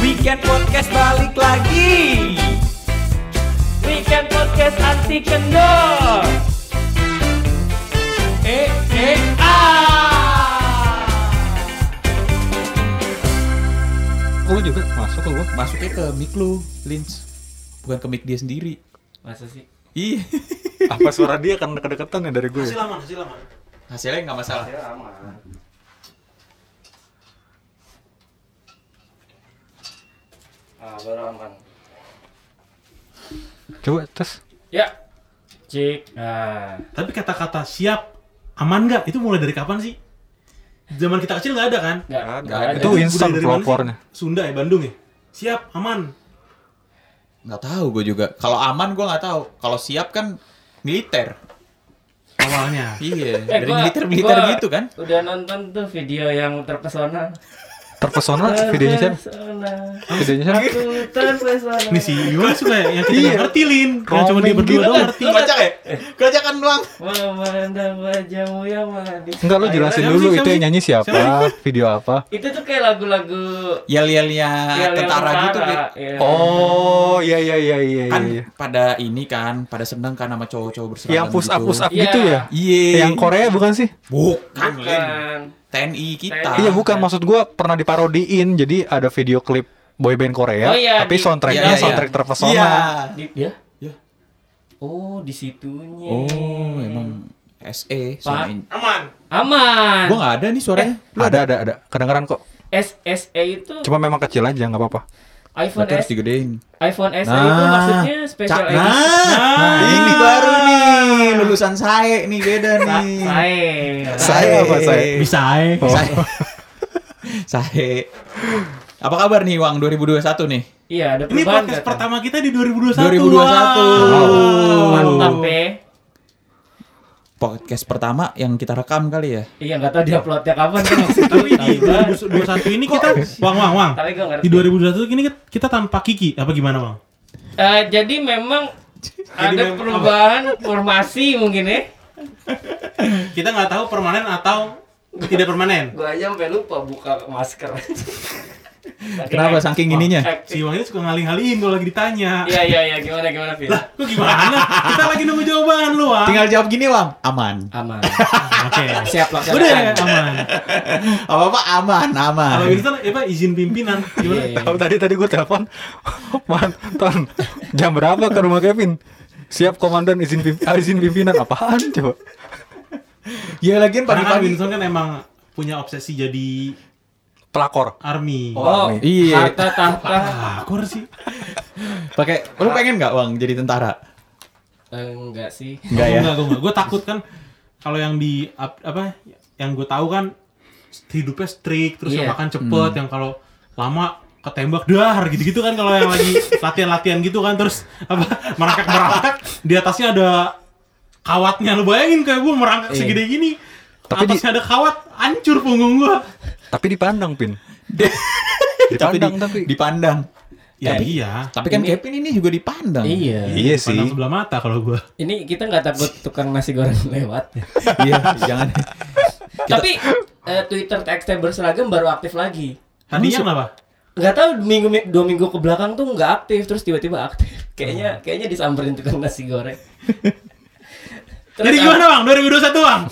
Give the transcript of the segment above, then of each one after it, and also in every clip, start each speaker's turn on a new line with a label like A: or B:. A: Weekend Podcast balik lagi Weekend Podcast anti kendor
B: E,
A: Eh, eh, ah
B: Oh, lu juga masuk ke gua. Masuknya ke mic lu, Lynch. Bukan ke mic dia sendiri.
A: Masa sih?
B: Iya.
C: apa suara dia kan kedekatan ya dari gue
D: Hasil aman, hasil aman.
B: Hasilnya nggak masalah.
D: Hasil aman. Ah, baru aman.
C: coba tes
A: Ya Cik
E: Nah,
A: ah.
D: Tapi kata-kata siap, aman nggak? Itu mulai dari kapan sih? Zaman kita kecil nggak ada kan?
A: Nggak,
C: Nggak ada.
A: nggak ada
C: Itu
D: Budaya
C: instan
D: dari mana sih?
C: pelopornya.
D: Sunda ya, Bandung ya? Siap, aman.
B: Nggak tahu gua juga. Kalau aman gua nggak tahu. Kalau siap kan militer.
D: Awalnya.
B: Iya.
E: Eh,
B: Dari
E: gua-
B: militer-militer
E: gua
B: gitu kan.
E: Udah nonton tuh video yang terpesona.
C: terpesona videonya siapa
E: Terpesona.
C: videonya siapa
E: Aku terpesona.
D: Nih si Yuma suka ya, yang kita nggak ngerti, Lin. Yang cuma dia
C: Iya. Roaming
D: berdua
C: gila
D: doang
C: kan?
D: ngerti.
B: Kocak ya? Kocakan doang.
E: Memandang wajahmu yang manis.
C: enggak lu jelasin
D: siapa
C: dulu
D: sih,
C: itu
D: siapa
C: yang nyanyi siapa video apa
E: Itu tuh kayak lagu-lagu
B: Yel-yelnya
E: yang
B: tentara gitu, Beb.
E: Oh.
C: oh iya iya iya iya
B: Kan
C: iya.
B: pada ini kan, pada seneng kan sama cowok-cowok berseragam
C: yang push up
B: gitu.
C: push up
E: Iya.
C: gitu ya
B: Iya.
C: yang Korea bukan sih
B: Bukan, Lin.
E: Bukan.
B: TNI kita.
E: Ah,
C: iya bukan
E: iya.
C: maksud gue pernah diparodiin jadi ada video klip boyband Korea
E: Oh, iya,
C: tapi
E: di-
C: soundtracknya
E: iya, iya.
C: kan, soundtrack terpesona
B: Iya.
E: Di, ya?
B: Ya.
E: Oh, di situnya.
B: Oh, emang SE.
E: Pak. Eh,
B: suara-
D: Aman.
E: Aman.
B: Gua nggak ada nih suaranya. Lu
C: ada ada ada kedengeran kok
E: SSE itu
C: cuma memang kecil aja nggak apa-apa
E: iPhone
B: Berarti harus
E: S,
B: digedein.
E: iPhone SE itu
B: Nah.
E: maksudnya special
B: Cak-
E: edition.
B: nah, ini baru nih lulusan saya nih beda nih.
E: E.
D: Iya.
E: Saya.
C: Sae E apa, Sae?
D: Bisa, eh.
C: Oh.
B: Sae. Sae. Apa kabar nih Wang 2021 nih?
E: Iya, ada
D: Ini
E: perubahan
D: podcast
E: nggak tuh?
D: pertama kita di 2021.
B: 2021.
D: Wow.
E: Mantap ya.
B: Podcast pertama yang kita rekam kali ya.
E: Iya, nggak tahu dia uploadnya kapan.
D: Tapi di 2021 ini kita Wang Wang Wang.
E: Tapi gua ngerti.
D: Di 2021 ini kita- kita tanpa Kiki apa gimana, Bang?
E: Eh, jadi memang ada
D: memang
E: perubahan formasi mungkin ya.
D: Kita nggak tahu permanen atau tidak permanen.
E: Gua aja sampai lupa buka masker.
B: Kenapa saking ininya?
D: Si Wang ini suka ngalih-ngalihin kalau lagi ditanya.
E: Iya, iya, iya, gimana gimana, Fit?
D: Lah, kok gimana? Kita lagi nunggu jawaban lu, Wang.
B: Tinggal jawab gini Wang, aman.
E: Aman.
D: Oke.
E: Siap laksanakan.
D: Udah ya, aman.
B: Apa-apa aman, aman.
D: Kalau Winston ya Pak izin pimpinan.
E: Iya,
D: Gimana?
E: iya.
C: Tahu tadi tadi gue telepon mantan jam berapa ke rumah Kevin? Siap komandan izin pimp- ah, izin pimpinan apaan coba?
B: Ya
C: Iya,
B: lagian
D: Karena kan
B: pagi-pagi.
D: Winston kan emang punya obsesi jadi
C: Pelakor.
D: army.
E: Oh,
D: Ah,
B: Iya.
E: harta tahta.
D: Aku sih.
B: Pakai lu pengen nggak Wang jadi tentara?
E: Eh, Enggak sih.
B: Nggak ya?
D: Enggak, gue enggak. Gue takut kan kalau yang di ap- apa yang gue tahu kan hidupnya strict terus yang
E: Iya.
D: makan cepet yang kalau lama ketembak dahar gitu-gitu kan kalau yang lagi latihan-latihan gitu kan terus apa merangkak-merangkak di atasnya ada kawatnya lu bayangin kayak gue merangkak segede gini
C: Tapi di-
D: atasnya ada kawat hancur punggung gue
C: Tapi dipandang pin. Dipandang tapi.
B: dipandang.
D: ya
B: Tapi-
D: iya
B: Tapi kan Kevin ini juga dipandang.
E: Iya.
C: Iya
D: pandang
C: sih.
D: sebelah mata kalau gue
E: Ini kita nggak takut tukang nasi goreng lewat.
B: Iya, jangan.
E: Tapi eh, Twitter TXT berseragam baru aktif lagi.
D: tadinya kenapa
E: Nggak tahu minggu mi- dua minggu ke belakang tuh nggak aktif terus tiba-tiba aktif. Kayaknya kayaknya disamperin tukang nasi goreng. Terus
D: jadi
E: ah,
D: gimana bang 2021 bang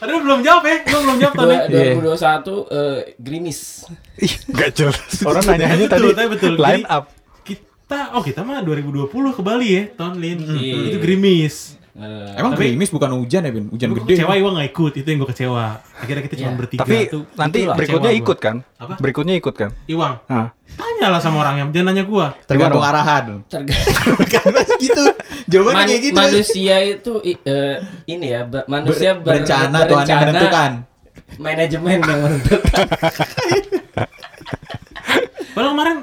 D: Tadi lu belum jawab ya, lu belum jawab
E: Dua,
D: tadi.
B: Iya.
E: dua ribu dua puluh satu eh, gerimis.
C: Ih, Nggak jelas. Orang nanyanya
D: Betul,
C: tadi
D: tapi betul.
C: line
D: Jadi-
C: up.
D: Kita, oh kita mah 2020 ke Bali ya, tahun Lin.
E: Iya.
D: Itu gerimis.
E: Eh,
B: Emang gerimis bukan hujan ya, Bin? Hujan
D: Gue
B: gede.
D: kecewa Iwa gak ikut, itu yang gue kecewa. Akhirnya kita cuma
E: Iya.
D: bertiga.
C: Tapi
D: Itu-
C: nanti
D: itulah
C: berikutnya
D: kecewa gua.
C: ikut kan?
D: Apa?
C: Berikutnya ikut kan?
D: Iwang,
C: Nah,
D: tanyalah sama orangnya, jangan nanya gue.
B: Tergantung
C: Gimana?
B: arahan.
E: tergantung
B: Kan masih gitu. Jawabannya
E: Man-
B: kayak gitu.
E: manusia itu i- eh, ini ya ber-
B: Ber-
E: manusia ber-
B: berencana Tuhan yang
E: berencana,
B: menentukan.
E: manajemen yang menentukan
D: Padahal kemarin,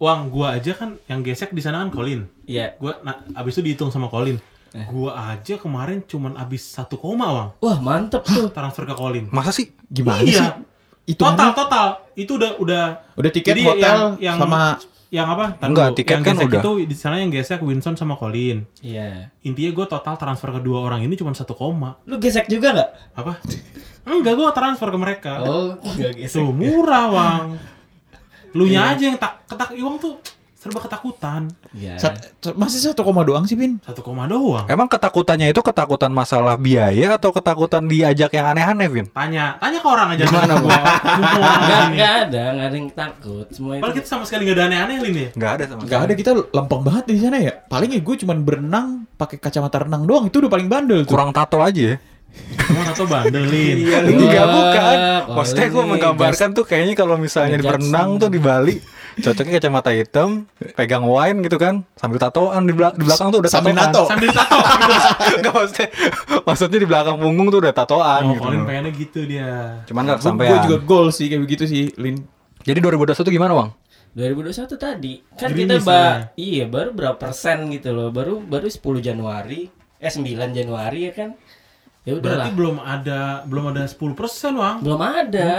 D: Wang, gue aja kan yang gesek di sana kan Colin.
E: Iya.
D: Gua, nah, abis itu dihitung sama Colin.
E: Eh.
D: Gue aja kemarin cuman abis 1 koma, Wang.
E: wah mantep tuh
D: Transfer ke Colin.
C: masa sih? Oh,
B: Gimana
D: Iya.
B: sih? Itu
D: total, total. Itu udah, udah.
B: Udah tiket
D: Jadi
B: hotel
D: yang- yang-
B: sama
D: Yang apa? Tahan
C: Enggak,
D: dulu.
C: tiket
D: yang
C: kan
D: gesek
C: udah.
D: itu di sana yang gesek Winston sama Colin.
E: iya
D: Intinya gue total transfer kedua orang ini cuma 1 koma.
E: lu gesek juga nggak
B: Oh,
D: Apa? Enggak, gue transfer ke mereka.
E: oh nggak gesek
D: Tuh murah, Wang. Lu
B: Iya.
D: nya aja yang tak ketak Iwang tuh serba ketakutan.
E: Iya.
B: Sat- masih 1,2 doang sih, Pin.
D: Satu koma doang.
C: Emang ketakutannya itu ketakutan masalah biaya atau ketakutan diajak yang aneh-aneh, Vin?
D: Tanya, tanya ke orang aja. Gimana gua? Semua
E: Nggak,
D: orang ini.
E: nggak ada, nggak ada yang takut. Semua itu.
D: Padahal kita sama sekali nggak ada aneh-aneh Lin ya.
C: Gak ada sama
B: Gak ada kita lempeng banget di sana ya. Paling ya gue cuman berenang pakai kacamata renang doang itu udah paling bandel tuh.
C: Kurang tato aja ya.
D: Cuma atau bandelin.
B: Iya,
E: Wah,
C: Eh, Enggak bukan. Maksudnya
E: kalau
C: gue
E: ini
C: menggambarkan tuh kayaknya kalau misalnya di
E: ngejudge
C: berenang tuh di Bali cocoknya kacamata hitam, pegang wine gitu kan, sambil tatoan di, belak- di belakang tuh udah
B: Sambil
C: tatoan.
B: nato.
D: Sambil tato.
C: Enggak maksudnya. Maksudnya di belakang punggung tuh udah tatoan
D: Oh,
C: gitu.
D: Colin pengennya gitu dia.
C: Cuman gak
B: Gue
C: sampai. ya.
B: gue juga goal sih kayak begitu sih, Lin.
C: Jadi 2021 gimana, Bang?
E: 2021 tadi kan
D: Gerimis
E: kita ba
D: sebenarnya.
E: iya baru berapa persen gitu loh baru baru 10 Januari eh 9 Januari ya kan ya
D: Berarti
E: udahlah
D: belum ada belum ada 10% Wang.
E: belum ada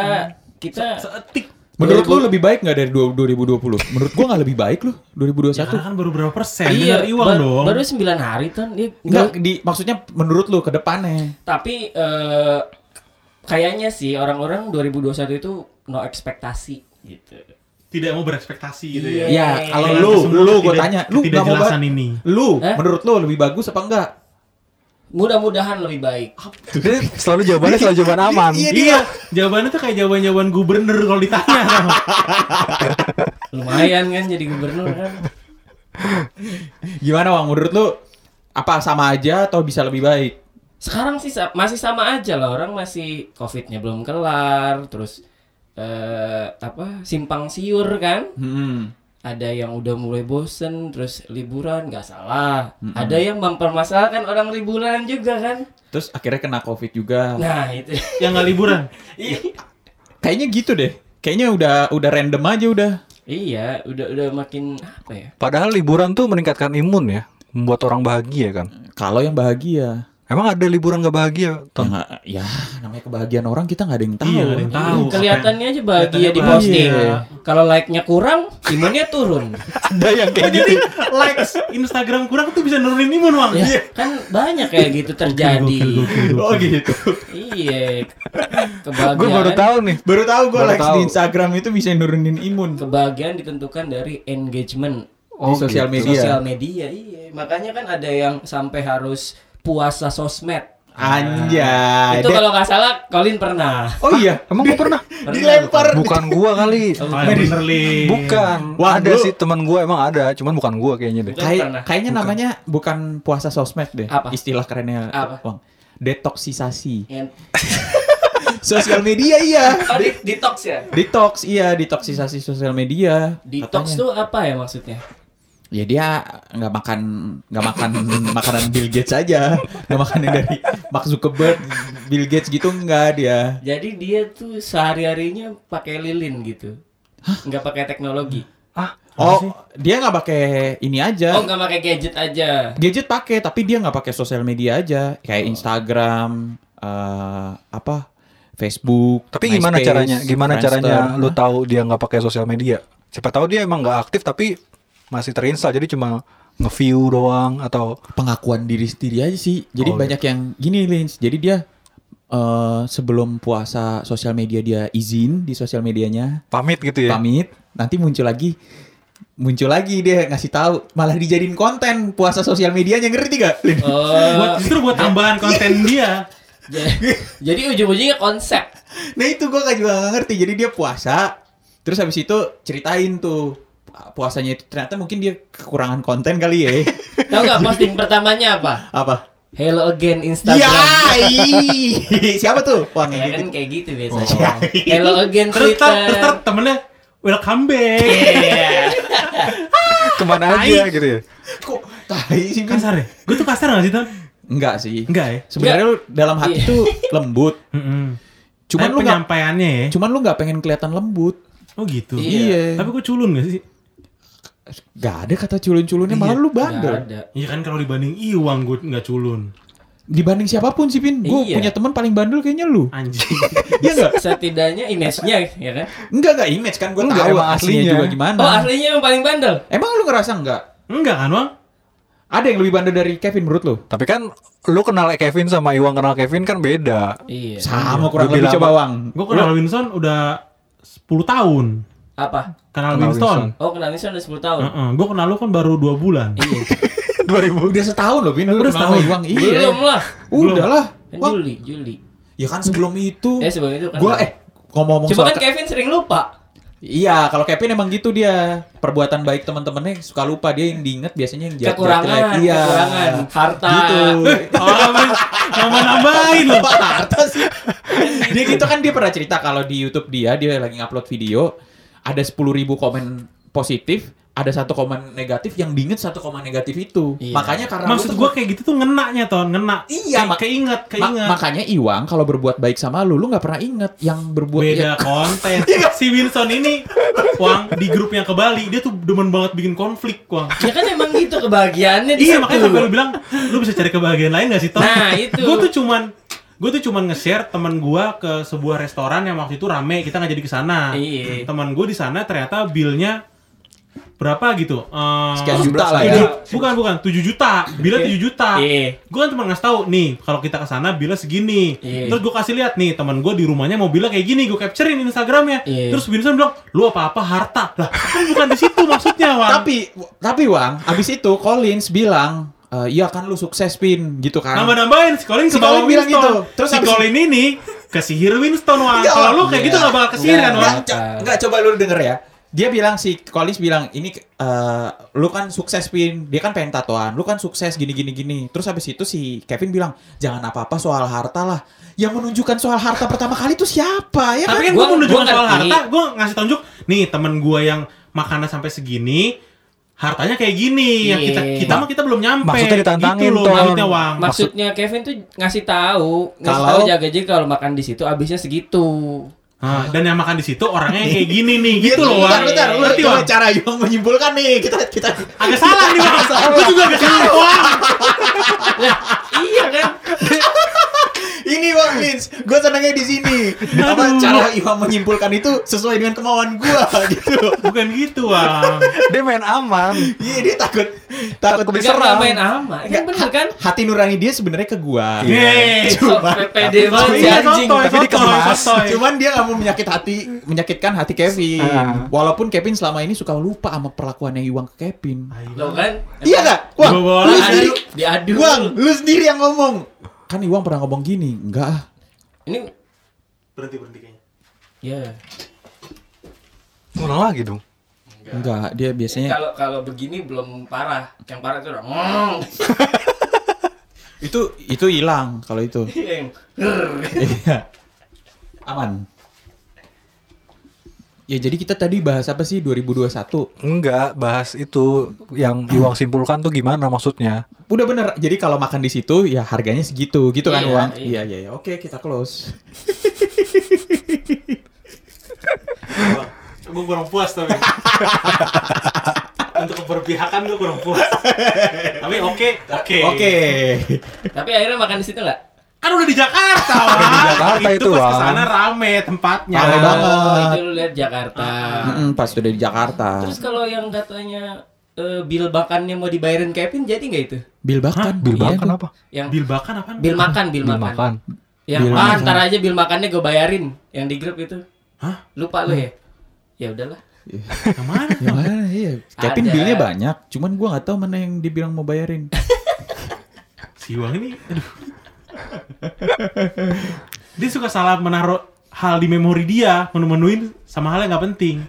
E: kita
D: Seetik.
B: Menurut lu lebih baik gak dari du- 2020? Menurut gue gak lebih baik lu
D: Ya,
B: 2021.
D: kan baru berapa persen?
E: iya
D: Dengar Iwang
E: ba-
D: dong.
E: baru 9 hari ton ya,
B: Enggak,
E: baru-
B: di maksudnya menurut lu ke depannya.
E: tapi eh, kayaknya sih orang-orang 2021 itu no ekspektasi gitu
D: Tidak mau berekspektasi gitu ya.
E: Iya.
B: Ya, kalau
D: Dengan
B: lu
D: kesemua
B: lu gue
D: ketidak-
B: tanya, lu gak mau
D: eh, ketidakjelasan
B: ba-
D: ini.
B: Lu
E: Hah?
B: menurut lu lebih bagus apa enggak?
E: mudah-mudahan lebih baik
C: Jadi selalu jawabannya selalu jawaban aman.
D: Iya, jawabannya tuh kayak jawaban-jawaban gubernur kalau ditanya.
E: lumayan kan jadi gubernur kan
B: Gimana Wang menurut lu apa sama aja atau bisa lebih baik?
E: sekarang sih sa- masih sama aja lah orang masih covidnya belum kelar terus eh apa simpang siur kan
B: Hmm.
E: ada yang udah mulai bosen terus liburan nggak salah ada yang mempermasalahkan orang liburan juga kan
B: Terus akhirnya kena Covid juga.
D: Oh.
E: nah itu
D: yang nggak liburan.
B: Kayaknya gitu deh. Kayaknya udah udah random aja udah.
E: iya udah udah makin apa ya
C: Padahal liburan tuh meningkatkan imun ya, membuat orang bahagia kan.
B: Kalau yang bahagia,
C: Emang ada liburan gak bahagia?
B: ya,
C: Ton?
B: nggak- ya namanya kebahagiaan orang kita nggak ada yang tahu.
D: Iya, nggak ada yang tahu.
E: Hmm, kelihatannya aja bahagia
D: kelihatannya
E: di posting
D: bahagia.
E: kalau like nya kurang imunnya turun
C: ada yang kayak gitu.
D: Jadi likes Instagram kurang tuh bisa nurunin imun, Iya. Wang.
E: ya, kan banyak kayak gitu terjadi
D: Gokil, gokil, gokil.
B: Oh gitu.
E: iya
C: Gue baru
E: kebahagiaan
C: tahu nih.
B: Baru tahu gue
C: Baru
B: likes
C: tahu.
B: di Instagram itu bisa nurunin imun
E: kebahagiaan ditentukan dari engagement
B: di sosial media.
E: sosial media gitu. iya makanya kan ada yang sampai harus puasa sosmed
B: Anjay.
E: itu
B: Dek.
E: kalau nggak salah Colin pernah
B: Oh iya,
C: Emang gue pernah?
B: dilempar.
C: Bukan gua kali.
D: Ah, bener, Lin.
C: Bukan.
B: Iya. Wah,
C: ada
B: lu-
C: sih teman gua emang ada, cuman bukan gua kayaknya deh.
E: Bukan
B: Kayak-
E: pernah.
B: kayaknya namanya bukan puasa sosmed deh.
E: Apa?
B: Istilah kerennya.
E: Apa?
B: Wang. Detoksisasi.
E: Yang-
B: sosial media iya.
E: oh, di- detox ya
B: Detox iya, detoksisasi sosial media.
E: detox
B: katanya.
E: tuh apa ya maksudnya
B: Ya dia nggak makan nggak makan makanan Bill Gates aja, nggak makan yang dari Mark Zuckerberg, Bill Gates gitu nggak dia.
E: jadi dia tuh sehari harinya pakai lilin gitu nggak pakai teknologi
B: Oh dia nggak pakai ini aja.
E: oh nggak pakai gadget aja
B: gadget pakai tapi dia nggak pakai sosial media aja kayak Instagram eh, apa Facebook
C: Tapi gimana
B: MySpace,
C: caranya? Gimana
B: Friendster.
C: caranya lu tahu dia nggak pakai sosial media? Siapa tahu dia emang nggak aktif tapi masih terinstall jadi cuma nge-view doang atau
B: pengakuan diri sendiri aja sih jadi
C: Oh,
B: banyak yang gini Lins jadi dia eh, sebelum puasa sosial media dia izin di sosial medianya
C: pamit gitu ya.
B: pamit nanti muncul lagi muncul lagi dia ngasih tahu malah dijadiin konten puasa sosial medianya ngerti gak Lin?
E: oh
D: Buat justru buat tambahan konten dia.
E: ja- jadi ujung ujungnya konsep
B: Nah itu gue gak juga gak ngerti. Jadi dia puasa, terus habis itu ceritain tuh puasanya itu ternyata mungkin dia kekurangan konten kali ya.
E: tahu nggak posting pertamanya apa
B: Apa?
E: hello again Instagram
B: Ya! Yai! Siapa tuh? Wang
E: Ya
B: yang gitu. Oh.
E: kan kayak gitu biasanya. Hello again
D: Terus ter, terus ter,
E: Twitter.
D: temennya welcome back.
C: Kemana aja gitu ya?
B: Kok tai sih Bin?
D: kasar ya? Gue tuh kasar gak sih, Ton?
B: Enggak sih.
D: Enggak ya?
B: Sebenarnya lu dalam hati
E: Iya.
B: tuh lembut.
D: Mm-mm.
B: Cuman
E: Eh,
B: lu
D: Tapi
B: nggak-
D: penyampaiannya ya.
B: Cuman lu nggak pengen kelihatan lembut.
D: Oh gitu.
B: Iya.
D: Tapi gue culun gak sih?
B: Gak ada kata culun-culunnya, malah lu
E: Nggak
B: bandel.
E: ada.
D: Iya kan kalau dibanding Iwang gue nggak culun.
B: Dibanding siapapun sih, Pin. Gue
E: Iya.
B: punya teman paling bandel kayaknya lu.
D: Anjing.
B: Iya enggak?
E: Setidaknya image-nya ya kan.
B: Enggak, enggak image kan gue
C: Enggak,
B: tahu
C: emang
B: aslinya
C: aslinya.
B: juga gimana.
E: Oh, aslinya yang paling bandel.
B: Emang lu ngerasa enggak?
D: Enggak kan, Wang?
B: Ada yang lebih bandel dari Kevin menurut lu?
C: Tapi kan lu kenal Kevin sama Iwang kenal Kevin kan beda.
E: Iya.
B: Sama
C: Lebih lama.
B: Wang.
D: Gue kenal Wilson udah 10 tahun.
E: Apa?
D: Kenal
C: Kenal
D: Winston.
E: Oh kenal Winston udah 10 tahun.
D: Heeh, gua kenal lu kan baru 2 bulan.
B: Iya.
C: 2000
B: Udah setahun loh, Bin. Lu
D: Udah
B: kenal sama
D: setahun.
B: Iwang. Iya.
E: Belum lah.
B: Udah lah.
E: Kan
B: Wah,
E: Juli, Juli.
B: Ya kan sebelum itu.
E: Ya sebelum itu kan.
B: Gua eh ngomong-ngomong
E: Cuma
B: soal
E: kan Kevin sering lupa.
B: Iya, kalau Kevin emang gitu dia. Perbuatan baik teman-temannya suka lupa dia yang diinget biasanya yang jelek
E: Kekurangan,
B: Iya.
E: kekurangan, harta.
B: Gitu.
D: Oh, mau nambahin lu.
B: Harta sih. dia gitu kan dia pernah cerita kalau di YouTube dia dia lagi ngupload video ada 10.000 komen positif, ada satu komen negatif yang diinget satu komen negatif itu.
E: Iya.
B: Makanya karena lu
D: Maksud
B: tuh-
D: gua kayak gitu tuh ngenaknya, Ton, ngena.
B: Iya,
D: Kayak
B: mak-
D: keinget,
B: Ma-
D: keinget.
B: makanya Iwang kalau berbuat baik sama lu, lu nggak pernah inget yang berbuat ya,
D: beda konten.
B: Iya.
D: si Wilson ini, Wang, di grup yang ke Bali, dia tuh demen banget bikin konflik, Wang.
E: Ya kan emang gitu kebahagiaannya di
D: Iya,
E: situ.
D: makanya sampai lu bilang, lu bisa cari kebahagiaan lain gak sih, Tom?
E: Nah, itu.
D: Gue tuh cuman, gue tuh cuman nge-share teman gua ke sebuah restoran yang waktu itu rame, kita nggak jadi ke sana.
E: Iya.
D: Teman gue di sana ternyata billnya berapa gitu? Eh,
B: Sekian juta lah ya.
D: tujuh- Bukan, bukan, 7 juta. Bila 7 juta.
E: Iya.
D: Gue kan cuma ngasih tahu nih, kalau kita ke sana bila segini.
E: Iya.
D: Terus gue kasih lihat nih, teman gue di rumahnya mobilnya kayak gini, gue capturein Instagramnya.
E: Iya.
D: Terus Winston bilang, "Lu apa-apa harta." Lah, kan bukan di situ maksudnya, Wang.
B: Tapi tapi Wang, abis itu Collins bilang, "Eh, "Iya kan lu sukses pin," gitu kan.
D: Nambah-nambahin si Colin
B: Si
D: ke bawah
B: Colin bilang
D: Winston.
B: gitu. Terus
D: si
B: habis-
D: Colin ini kesihir Winston, Wang.
B: Enggak,
D: Kalau lu
B: Wang.
D: kayak
E: Iya.
D: gitu gak bakal kesihir kan,
B: Enggak,
D: Wang.
B: co- enggak, coba lu denger ya. Dia bilang si Collins bilang ini eh, lu kan sukses pin, dia kan pengen tatoan, lu kan sukses gini gini gini. Terus habis itu si Kevin bilang jangan apa apa soal harta lah. Yang menunjukkan soal harta pertama kali itu siapa ya kan?
D: Tapi kan gue
E: Gua-
D: menunjukkan
E: gua
D: soal
E: ngerti.
D: harta, gue ngasih tunjuk, nih temen gue yang makannya sampai segini, hartanya kayak gini. Yang kita
E: Iya.
D: kita mah kita belum nyampe.
C: Maksudnya ditantangin,
D: gitu loh,
C: Ton.
D: maksudnya, Wang.
E: Maksudnya Kevin tuh ngasih tahu, ngasih
B: Kalau-
E: tahu jaga jaga kalau makan di situ habisnya segitu.
D: Nah, dan yang makan di situ orangnya yang kayak gini nih, gitu loh,
B: Iya, Bentar,
D: Wang.
B: bentar, lu
D: Ngerti,
B: coba
D: Wang?
B: cara Yong menyimpulkan nih. Kita kita
D: Agak salah nih, Wang. Gue juga agak salah, Wang.
E: iya kan?
B: Ini Wang Lins, gue senangnya di sini. Apa
D: Aduh.
B: cara Iwan menyimpulkan itu sesuai dengan kemauan gue gitu. loh.
D: Bukan gitu, Wang.
C: Dia main aman.
B: Iya dia takut takut
C: Takut
E: Enggak
C: diserang.
E: main aman. Kan bener kan?
B: Hati nurani dia sebenarnya ke gua.
D: Yeay.
E: So,
B: Cuma
E: pede banget ya.
D: Iya, Sotoy,
E: sih,
D: iya,
E: anjing.
D: sotoy,
C: tapi
D: sotoy,
C: dikemas.
D: sotoy.
B: Cuman dia nggak mau menyakit hati, menyakitkan hati Kevin.
C: Ah.
B: Walaupun Kevin selama ini suka lupa sama perlakuannya Iwang ke Kevin.
E: Lo kan?
B: Iya nggak? Wang,
D: Dibawa
B: lu
D: lagi.
B: sendiri,
E: Diadu, diadu.
B: Wang, lu sendiri yang ngomong. Kan Iwang pernah ngomong gini, enggak ah.
E: Ini
D: Berhenti, berhenti kayaknya.
E: ya.
C: Ulang lagi dong.
B: Enggak, dia biasanya
E: Kalau kalau begini belum parah. Yang parah itu udah ngong.
B: itu itu hilang kalau itu.
E: Yang
B: Iya. Aman. Ya jadi kita tadi bahas apa sih 2021?
C: Enggak, bahas itu yang Iwang simpulkan tuh gimana maksudnya.
B: Udah bener. Jadi kalau makan di situ ya harganya segitu gitu kan
E: Iya,
B: uang.
E: iya.
B: Iya iya iya. Oke kita close.
D: Gue kurang puas tapi. Untuk keberpihakan gue kurang puas. Tapi oke, oke.
C: Eh.
B: Oke.
E: Tapi akhirnya makan di situ enggak?
D: Kan udah di Jakarta, Wang.
C: Udah di Jakarta itu,
D: pas
C: Wang.
D: kesana rame tempatnya.
B: Rame banget.
E: Oh, itu lu lihat Jakarta.
B: Mm-mm, pas udah di Jakarta.
E: Terus kalau yang katanya eh, bil makannya mau dibayarin Kevin jadi nggak itu?
B: Bil bahkan.
C: Bil
B: Iya,
C: bahkan
B: gua-
C: kan apa?
E: Yang
D: Bil bahkan apa?
E: bil makan, bil, makan. Yang
B: Bil
E: ah,
B: makan.
E: ntar aja bil makannya gue bayarin yang di grup itu.
D: Hah?
E: Lupa lu ya? Ya udahlah.
D: Yang mana?
B: Iya. Yang mana? Iya. Kevin
E: Ada.
B: bilnya banyak. Cuman gua nggak tahu mana yang dibilang mau bayarin.
D: Si Wang ini, aduh. Dia suka salah menaruh hal di memori dia, menu-menuin sama hal yang nggak penting.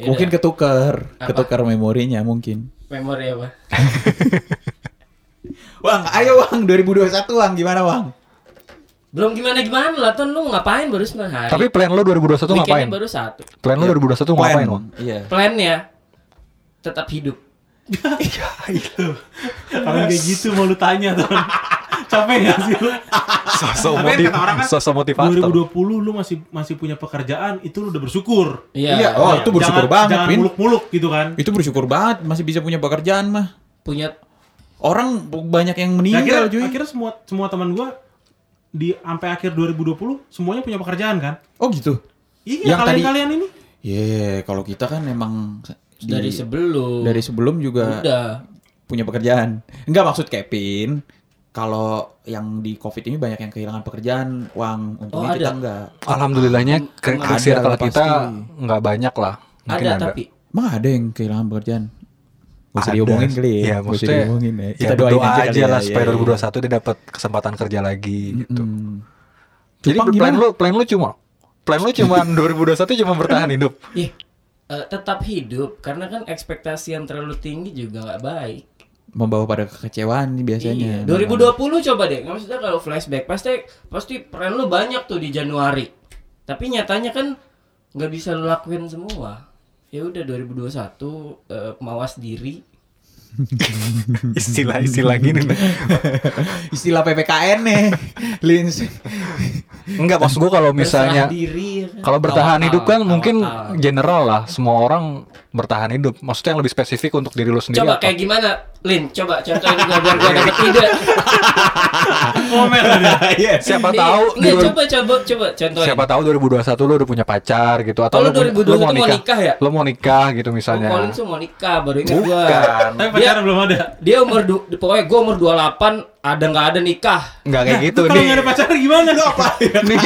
E: Ya
B: mungkin
E: udah.
B: ketuker,
E: Apa?
B: ketuker memorinya mungkin.
E: memori apa?
B: Wang, ayo Wang 2021 Wang gimana Wang?
E: Belum gimana gimana lah ton lu ngapain baru sembilan hari?
C: Tapi plan lu 2021
E: Weekendnya
C: ngapain?
E: baru satu.
C: Plan lu 2021 ngapain, Wang?
B: Iya.
E: Plannya tetap hidup.
C: Ah,
D: Kalau kayak gitu mau lu tanya, Ton. Capek nggak sih lu?
C: Sosok
D: Tapi
C: motiv
D: kata orang kan,
C: sosok motivator.
D: 2020 lu masih masih punya pekerjaan, itu lu udah bersyukur.
B: Iya, oh, itu bersyukur
D: jangan,
B: banget,
D: Jangan
B: Pin.
D: muluk-muluk gitu kan.
B: Itu bersyukur banget masih bisa punya pekerjaan mah.
E: punya
B: Orang banyak yang
D: Ya, akhirnya,
B: meninggal Iya, cuy.
D: akhirnya semua semua teman gua di sampai akhir 2020 semuanya punya pekerjaan kan?
B: Oh gitu.
D: Iya,
B: Yang tadi-
D: kalian-kalian ini.
B: Iya, kalau kita kan emang di-
E: dari sebelum.
C: eh,
B: dari sebelum juga
E: udah.
B: punya pekerjaan. Enggak maksud Kevin, kalau yang di Covid ini banyak yang kehilangan pekerjaan, uang untungnya
E: Oh,
B: kita
E: ada.
B: enggak.
C: Alhamdulillahnya ke, ke
B: Ada
C: circle
B: lah,
C: kita
B: pasti.
C: nggak banyak lah. Mungkin
E: ada,
C: ada.
E: tapi
B: Emang ada yang kehilangan pekerjaan? Gak usah
C: Ada.
B: diomongin kali ya.
C: Iya,
B: Nggak usah
C: maksudnya
B: diomongin ya.
C: Kita
B: doain
C: doa aja,
B: kali ya,
C: lah
B: iya,
C: supaya
B: iya.
C: 2021 dia dapat kesempatan kerja lagi gitu.
B: Hmm.
C: Jadi
B: Jepang
C: plan
B: gimana?
C: lu plan lu cuma plan lu cuma 2021 cuma bertahan hidup.
E: ih eh, tetap hidup karena kan ekspektasi yang terlalu tinggi juga nggak baik.
B: Membawa pada kekecewaan nih biasanya.
E: Iya. 2020 coba deh. Nggak maksudnya kalau flashback pasti pasti plan lu banyak tuh di Januari. Tapi nyatanya kan nggak bisa lu lakuin semua. Ya udah 2021 eh, mawas diri.
C: Istilah-istilah gini. nih.
B: Istilah PPKN nih. Lins.
C: Enggak maksud gua kalau misalnya
E: Berserah diri ya kan.
C: kalau bertahan
E: Tawakal,
C: hidup kan mungkin
E: tawakal.
C: general lah semua orang bertahan hidup. Maksudnya yang lebih spesifik untuk diri lu sendiri.
E: Coba
C: apa?
E: kayak gimana? Lin, coba contohin gua biar gua dapet ide.
D: Komen dia.
B: Iya.
C: siapa
E: Nih,
C: tahu di
E: nggak,
C: dua-
E: coba coba coba contohin.
C: siapa tahu 2021 lu udah punya pacar gitu atau
E: Oh, lu
C: lu, punya-
E: 2021
C: lu mau
E: mau
C: nikah.
E: nikah ya?
C: Lu mau nikah gitu misalnya.
E: Oh, Colin tuh mau nikah baru ingat gua.
C: Bukan.
D: Tapi pacaran belum ada.
E: Dia umur du- pokoknya gua umur 28 ada nggak ada nikah.
C: Enggak
E: Nah,
C: kayak gitu
D: Kalau
C: nih.
D: nggak ada pacar gimana? apa?
C: Nih,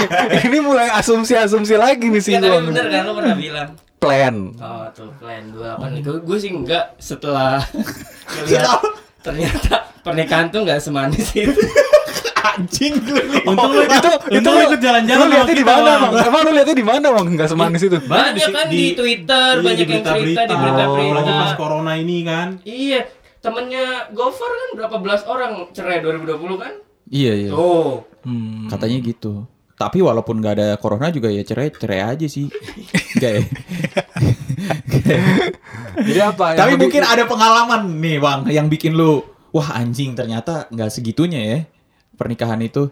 C: ini mulai asumsi-asumsi lagi nih sih
E: Iya tapi bener kan lu pernah bilang.
C: plan.
E: Oh tuh plan 28 nikah. Gue sih enggak setelah melihat ternyata pernikahan tuh enggak semanis itu.
B: Anjing lu nih.
D: Untung lu
C: itu itu
D: lu ikut jalan-jalan
C: lu lihatnya
D: sama
C: di
D: kita,
C: mana
D: Bang.
C: bang emang lu lihatnya di mana bang nggak semanis itu
E: Banyak kan di Twitter,
D: iya,
E: banyak yang cerita di berita-berita.
D: Apalagi Oh, pas corona ini kan.
E: Iya, temennya Gofar kan berapa belas orang cerai 2020 kan?
B: Iya iya.
E: Tuh.
C: hmm.
B: Katanya gitu. Tapi walaupun nggak ada corona juga ya cerai cerai aja sih. Enggak ya.
C: jadi apa yang
B: Tapi
C: lebih-
B: mungkin ada pengalaman nih bang yang bikin lu wah anjing ternyata nggak segitunya ya pernikahan itu.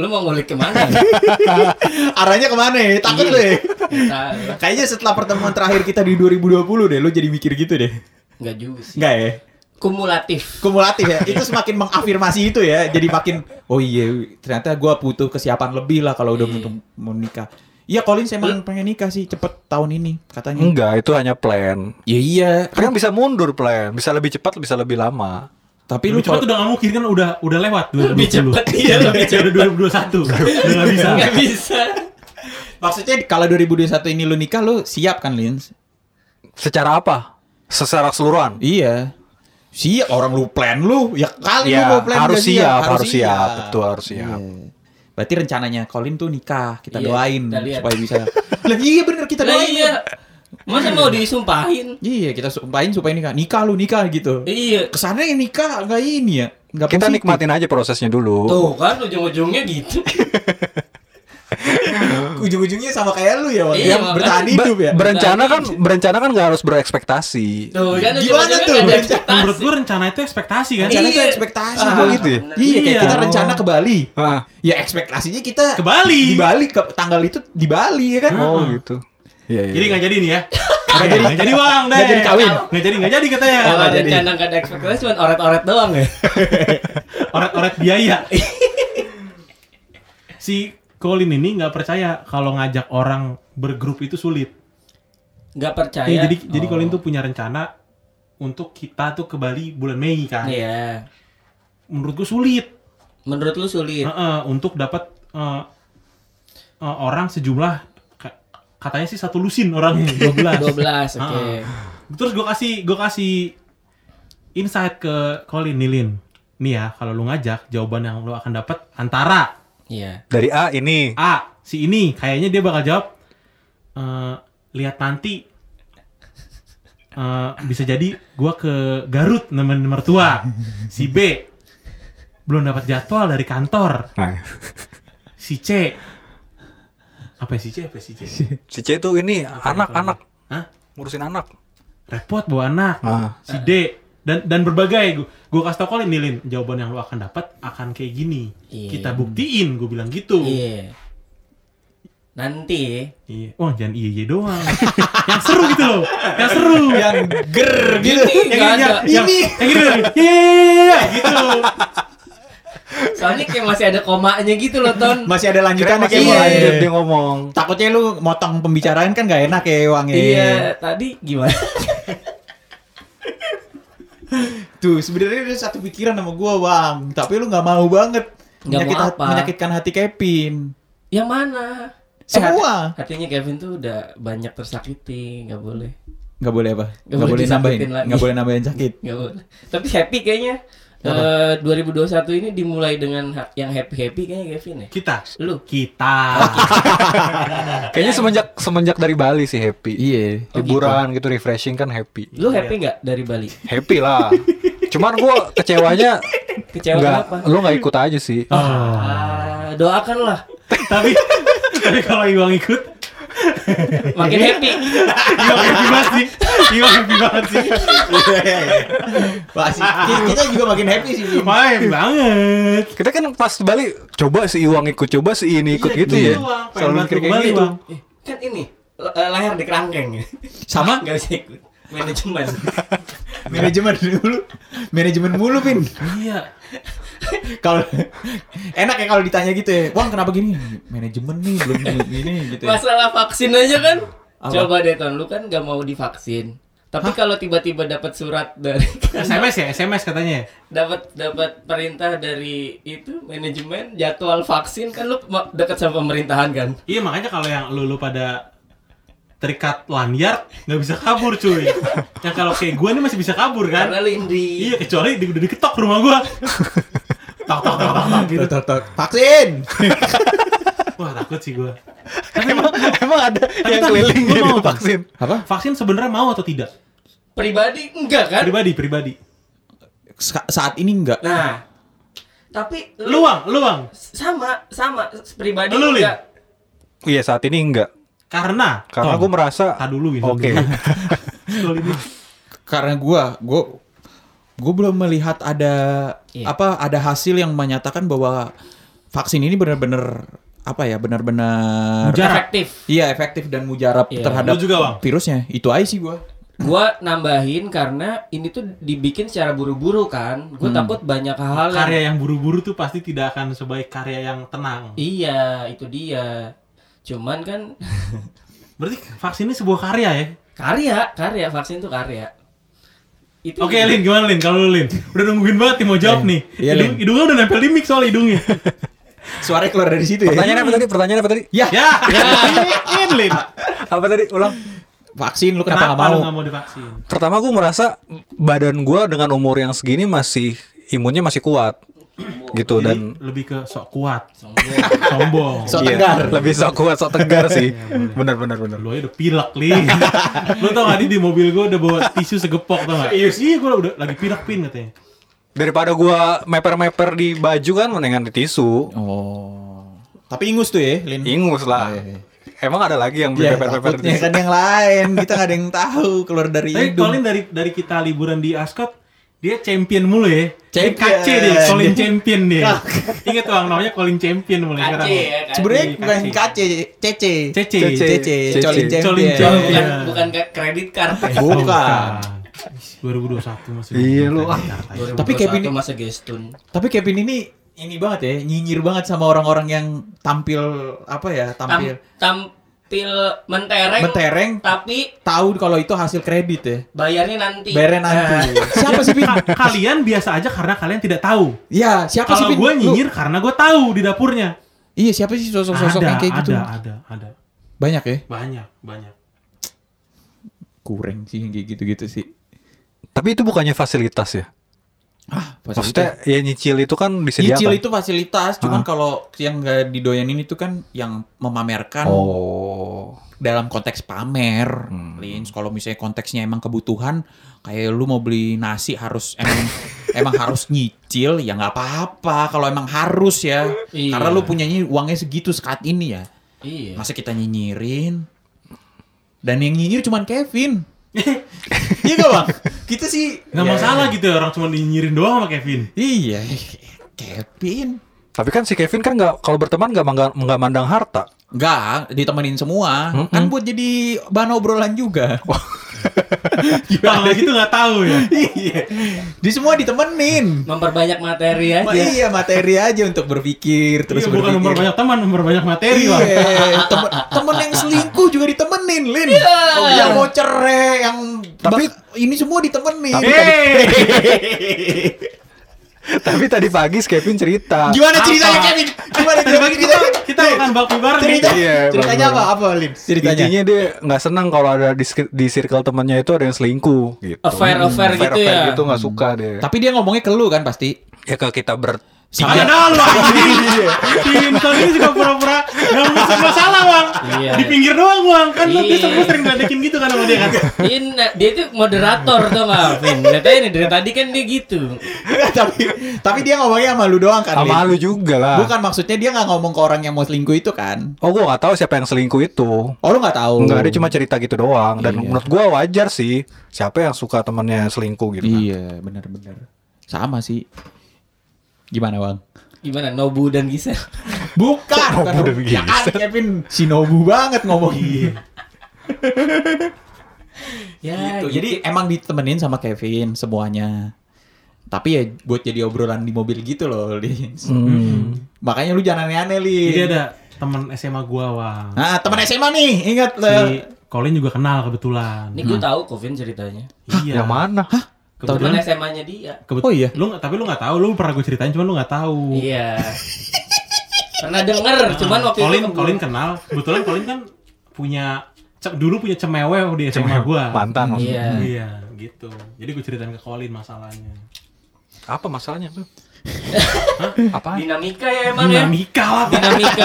E: Lu mau ngulik kemana?
B: Arahnya kemana ya? Takut lu ya?
E: Kita
B: Kayaknya setelah pertemuan terakhir kita di 2020 deh, lu jadi mikir gitu deh.
E: enggak juga sih.
B: Enggak ya?
E: Kumulatif.
B: Kumulatif ya. Itu semakin mengafirmasi itu ya. Jadi makin oh iya ternyata gua butuh kesiapan lebih lah kalau udah
E: Iya.
B: untuk mau nikah. Iya Colin saya emang pengen nikah sih cepet tahun ini katanya.
C: enggak itu hanya plan
B: Iya iya.
C: kan bisa mundur plan bisa lebih cepat bisa lebih lama
B: Tapi lu
D: Lebih cepat
B: kalau-
D: udah nggak mungkin kan udah udah lewat
E: Lebih
D: 2020.
E: cepet, iya, lebih
D: Udah 2021. Udah nggak bisa.
E: Enggak bisa.
B: maksudnya kalau 2021 ini lu nikah lu siap kan Lins?
C: secara apa secara keseluruhan
B: Iya. Siap orang lu plan lu ya kali
C: Iya,
B: lu mau plan
C: harus
B: udah
C: siap, harus siap. Betul, harus siap.
B: Iya. Berarti rencananya Colin tuh nikah, kita
E: Iya,
B: doain
E: kita lihat.
B: supaya bisa. Lah iya bener kita
E: Lah
B: doain.
E: iya. Masa mau disumpahin?
B: Iya, kita sumpahin supaya nikah. Nikah lu nikah gitu.
E: Iya.
B: Kesannya yang nikah enggak ini ya. Enggak
C: kita nikmatin aja prosesnya dulu
E: Tuh kan ujung-ujungnya gitu.
B: Ujung-ujungnya sama kayak lu ya, Wak.
E: Iya,
B: yang
E: makanya.
B: bertahan
C: Be-
B: hidup ya.
C: berencana kan berencana kan nggak harus berekspektasi
E: Nah, Tuh kan
B: Gimana
E: ujung-ujungnya
B: tuh?
E: nggak ada
B: Menurut-
E: ekspektasi.
D: Nah, Menurut gua rencana itu ekspektasi kan.
B: Rencana tuh
E: Iya.
B: ekspektasi,
C: Ah,
B: Bang.
C: gitu ya?
B: Iya, kayak
D: Iya.
B: kita rencana ke Bali.
C: Ah.
B: Ya ekspektasinya kita
D: Ke Bali.
B: Di Bali ke tanggal itu di Bali ya kan.
C: oh gitu Iya, iya.
D: Jadi nggak jadi nih ya. Nggak jadi. Nggak jadi bang.
B: Nggak jadi kawin.
D: Nggak jadi nggak jadi katanya.
E: Kalau rencana nggak ada ekspektasi cuma oret-oret doang ya.
D: Oret-oret biaya. Si Colin ini nggak percaya kalau ngajak orang bergrup itu sulit.
E: Nggak percaya.
D: Iya, jadi jadi
E: Oh.
D: Colin tuh punya rencana untuk kita tuh ke Bali bulan Mei kan.
E: Iya.
D: Menurut gua sulit.
E: Menurut lu sulit.
D: Heeh, untuk dapat eh, eh, orang sejumlah ka- katanya sih satu lusin orangnya 12.
E: 12, oke.
D: Heeh. Terus gue kasih gue kasih insight ke Colin Nilin. Nih ya, kalau lu ngajak, jawaban yang lu akan dapat antara
E: Iya.
C: dari A ini
D: A, si ini kayaknya dia bakal jawab eh, lihat nanti Eh, bisa jadi gua ke Garut nemenin mertua. Si B belum dapat jadwal dari kantor.
C: Nah,
D: Si C apa ya si C apa ya si C?
C: si C itu ini anak-anak
D: Hah?
C: ngurusin anak
D: repot bawa anak
C: Ah.
D: si D dan dan berbagai gue kasih tau Colin nih Lin jawaban yang lo akan dapat akan kayak gini
E: Iya.
D: kita buktiin gue bilang gitu
E: Iya. Nanti
D: iya wah jangan iya iya doang yang seru gitu loh yang seru yang
B: Ger gitu.
E: Ini nggak
D: yang
E: ada.
D: yang yang,
B: Ini.
D: yang gitu iya gitu
E: Soalnya kayak masih ada komanya gitu loh, Ton.
B: Masih ada
C: Kira
B: lanjutannya
C: masih
B: kayak
C: mau lanjut
B: iya.
C: dia ngomong
B: Takutnya lu motong pembicaraan kan gak enak ya Wang ya.
E: Iya, tadi gimana?
B: Tuh sebenarnya ada satu pikiran sama gua Bang, tapi lu nggak mau banget
E: Nggak mau
B: menyakit-
E: apa?
B: menyakitkan hati Kevin.
E: Yang mana? Eh,
B: Semua.
E: Hatinya Kevin tuh udah banyak tersakiti, nggak boleh.
B: Nggak boleh apa?
E: Nggak
B: Nggak
E: boleh
B: boleh nambahin.
E: disakitin lagi.
B: Nggak boleh nambahin sakit.
E: Nggak boleh. Tapi happy kayaknya. Eh 2021 ini dimulai dengan ha- yang happy-happy kayaknya Kevin ya.
D: Kita.
E: Lu.
D: Kita.
C: Kayaknya semenjak semenjak dari Bali sih happy.
B: Iya.
C: Liburan gitu refreshing kan happy.
E: Lu happy nggak dari Bali?
C: Happy lah. Cuman gua kecewanya
E: Kecewa kenapa?
C: nggak, lu nggak ikut aja sih.
E: Ah, doakanlah.
D: tapi tapi kalau Iwang ikut,
E: Makin
B: Iya.
E: happy.
D: Iwang happy banget sih. Iwang happy banget sih.
B: Wah, sih. Kita- Kita juga makin happy sih. Vin.
D: Wah, happy banget.
C: Kita kan pas Bali coba si Iwang ikut, coba si ini ikut gitu ya.
D: Iwang, pengen
C: Selalu
D: banget
C: mikir
D: lu
C: kayak
D: kembali,
C: gitu.
D: Bang.
E: Eh, kan ini le- eh, leher di kerangkeng.
B: Sama?
E: Nggak bisa ikut. Manajemen.
B: Manajemen dulu. Manajemen mulu, Pin.
D: Iya.
B: Kalau enak ya kalau ditanya gitu ya. Wah, kenapa gini? Manajemen nih belum gini gitu ya.
E: Masalah vaksin aja kan.
B: Apa?
E: Coba deh Ton, lu kan nggak mau divaksin. Tapi kalau tiba-tiba dapat surat dari
D: SMS ya, SMS katanya. ya?
E: dapat dapat perintah dari itu manajemen jadwal vaksin kan lu ma- dekat sama pemerintahan kan.
D: Iya makanya kalau yang lu, lu pada terikat lanyard nggak bisa kabur cuy. yang kalau kayak gue nih masih bisa kabur
E: Karena
D: kan?
E: lu indi.
D: Iya kecuali di, udah diketok rumah gue. tok tok tok tok tok gitu.
B: Tok, tok, tok. Vaksin.
D: Wah takut sih gue.
C: Emang emang ada yang
D: tapi,
C: keliling
D: lu
C: gitu
D: mau tak?
C: vaksin.
B: Apa?
D: Vaksin sebenarnya mau atau tidak?
E: Pribadi enggak kan?
D: Pribadi pribadi.
B: Sa- saat ini enggak.
E: Nah. Tapi lu
D: Luang luang.
E: sama sama pribadi
D: Lu, Lin?
E: enggak.
C: Iya saat ini enggak.
D: Karena
C: Karena
D: Tom,
C: gue merasa
D: Tar dulu, Win.
C: Oke.
D: Lu ini.
B: Karena gua gua gua belum melihat ada
E: Iya.
B: apa ada hasil yang menyatakan bahwa vaksin ini benar-benar apa ya benar-benar
D: Mujarab.
E: Efektif.
B: iya efektif dan mujarab
E: Iya.
B: terhadap
D: Lu juga, Bang?
B: virusnya itu aja sih gua
E: Gua nambahin karena ini tuh dibikin secara buru-buru kan. Gua takut banyak hal yang
D: Hmm. karya yang buru-buru tuh pasti tidak akan sebaik karya yang tenang.
E: Iya, itu dia. Cuman kan
D: Berarti vaksin ini sebuah karya ya?
E: karya, karya vaksin tuh karya. Itu
D: Oke Lin, gimana Lin? Kalau lu Lin, udah nungguin banget nih mau jawab nih.
B: Iya,
D: Hidung,
B: Lin.
D: hidungnya udah nempel di mic soal hidungnya.
B: suaranya keluar dari situ ya
C: Pertanyaan apa tadi? Pertanyaan apa tadi?
B: ya
D: ya, Lin, Lin.
C: Apa tadi? Ulang.
B: vaksin lu kenapa,
D: Kenapa,
B: nggak
D: lu
B: mau
D: nggak mau divaksin?
C: Pertama gue merasa badan gua dengan umur yang segini masih imunnya masih kuat gitu
D: Jadi
C: dan
D: lebih ke sok kuat,
E: Sombong.
D: sombong.
B: Sok-
D: Lo
C: Iya,
B: tegar. Iya,
C: lebih sok kuat sok tegar sih bener bener bener
D: Lu aja udah pilek, Lin. lu tau gak, di mobil gue udah bawa tisu segepok, tau gak? Iya, iya gue udah lagi pilek, Pin, katanya.
C: daripada gua meper meper di baju kan mendingan di tisu
B: oh tapi ingus tuh ya Lin
C: ingus lah
B: Iya, iya.
C: emang ada lagi yang
B: Ya,
C: meper meper di
B: takutnya
C: tisu
B: kan yang lain kita nggak ada yang tahu keluar dari
D: Tapi
B: Iya, hidung
D: Colin dari dari kita liburan di Ascot, dia champion mulu ya. Dia
B: Champion.
D: KC dia, Colin champion dia. Ingat tuh, namanya Colin champion mulai
E: Kace
D: sekarang.
E: ya, kace.
B: sebenarnya
D: Kaci.
B: bukan kace cece
D: Cece.
B: cece
C: Cece.
B: colin champion
D: Colin champion.
E: bukan,
D: Iya.
E: bukan ke- kredit card. ya.
B: bukan
D: 2021 masih. gitu.
C: Iya, lu.
E: ah.
B: Tapi Kevin-
E: 2021 masa gestun.
B: tapi Kevin ini ini banget ya nyinyir banget sama orang-orang yang tampil apa ya
E: Tam,
B: tampil
E: tampil mentereng,
B: mentereng
E: tapi
B: tahu kalau itu hasil kredit ya
E: bayarnya nanti.
B: bayarnya nanti siapa sih Pin?
D: Ka- kalian biasa aja karena kalian tidak tahu.
B: ya siapa sih
D: Kalau
B: Pin?
D: gue
B: Lu-
D: nyinyir karena gue tahu di dapurnya.
B: iya siapa sih sosok-sosok yang kayak
D: ada,
B: gitu
D: ada, ada.
B: banyak ya
D: Banyak, banyak.
B: kurang sih yang kayak gitu-gitu sih
C: tapi itu bukannya fasilitas ya
B: ah
C: maksudnya ya nyicil itu kan disediakan
B: Nyicil itu fasilitas,
D: Ah.
B: cuman kalau yang nggak didoyanin itu kan yang memamerkan
C: oh Hmm.
B: dalam konteks pamer, Lins. Kalau misalnya konteksnya emang kebutuhan, kayak lu mau beli nasi harus emang emang harus nyicil, ya nggak apa-apa. Kalau emang harus ya,
E: Iya.
B: karena lu punyanya uangnya segitu saat ini ya.
E: Iya.
B: Masa kita nyinyirin? Dan yang nyinyir cuman Kevin. iya gak bang? Kita sih
D: Nggak
B: Ya,
D: masalah gitu ya, orang cuma nyinyirin doang sama Kevin.
B: Iya, Kevin.
C: tapi kan si Kevin kan nggak kalau berteman nggak mangga- nggak mandang harta
B: Enggak, ditemenin semua. Kan buat jadi bahan obrolan juga.
D: Kalau gitu nggak tahu ya.
B: iya. Di semua ditemenin.
E: Memperbanyak materi
B: Ma-
E: aja.
B: iya, materi aja untuk berpikir terus
D: Iya, bukan
B: berpikir.
D: nomor banyak teman, nomor banyak materi lah.
B: Iya, temen, temen yang selingkuh juga ditemenin, Lin. Oh, yang mau cerai, yang
C: Tapi-
B: bak- ini semua ditemenin.
C: Tapi-
D: Yeay.
C: Tapi tadi pagi si Kevin cerita.
B: Gimana ceritanya
D: Apa?
B: Kevin? Gimana
D: Tiba-tiba
B: ceritanya
D: kita
B: ceritanya?
D: kita makan bakmi bareng gitu.
B: Cerita,
D: nih.
C: Iya,
B: ceritanya apa?
C: bener-bener.
B: Apa Lim? Ceritanya.
C: Intinya dia nggak senang kalau ada di, sek- di circle temannya itu ada yang selingkuh gitu.
E: Affair- affair
C: Affair-
E: gitu
C: affair
E: ya.
C: gitu nggak suka deh.
B: Hmm. Tapi dia ngomongnya ke lu kan pasti.
C: Ya kalau kita ber
B: Iya.
D: Ada dalam Tim kali ini juga pura-pura Gak masuk masalah Wang
E: Iya.
D: Di pinggir doang Wang Kan lu
E: Iya.
D: bisa lu sering ngeledekin gitu kan sama dia kan
E: Dia, na- dia tuh moderator tau gak Vin Lihat aja nih dari tadi kan dia gitu
B: tapi tapi dia ngomongnya sama lu doang kan.
C: sama
B: Lim?
C: lu juga lah.
B: Bukan maksudnya dia nggak ngomong ke orang yang mau selingkuh itu kan.
C: Oh gua nggak tahu siapa yang selingkuh itu.
B: Oh Iya. lu nggak tahu.
C: Enggak, dia cuma cerita gitu doang. Dan menurut gua wajar sih. Siapa yang suka temannya selingkuh gitu kan.
B: Iya, benar-benar. Sama sih. Gimana, Bang?
E: Gimana Nobu dan Gisel
B: Bukan, bukan
C: Nobu dan
B: Ya kan, Kevin Shinobu banget ngomong.
E: Ya
B: gitu. Jadi emang ditemenin sama Kevin semuanya. Tapi ya buat jadi obrolan di mobil gitu loh, Lins. Makanya lu jangan aneh-aneh, Lin.
D: Hmm. Jadi ada teman SMA gua Wang
B: Nah, teman SMA nih, ingat.
D: Si
B: eh,
D: Colin juga kenal kebetulan
E: Ini gue tahu kok Vin ceritanya
D: Iya
C: Yang mana?
E: Temen
D: Kebetulan
E: SMA nya dia
D: kebet-
B: Oh, iya.
D: lu, nggak- Tapi lu gak tahu Lu pernah gue ceritain Cuman lu gak tahu Nah,
E: Iya Pernah denger Cuman waktu
D: Colin,
E: itu
D: Colin kenal Kebetulan Colin kan punya ce- Dulu punya cemewe di SMA gua
C: Mantan.
E: Iya
C: maksudnya.
D: Iya gitu Jadi gue ceritain ke Colin masalahnya
C: Apa masalahnya tuh? Apa?
E: Dinamika ya emang ya
D: Dinamika lah
E: dinamika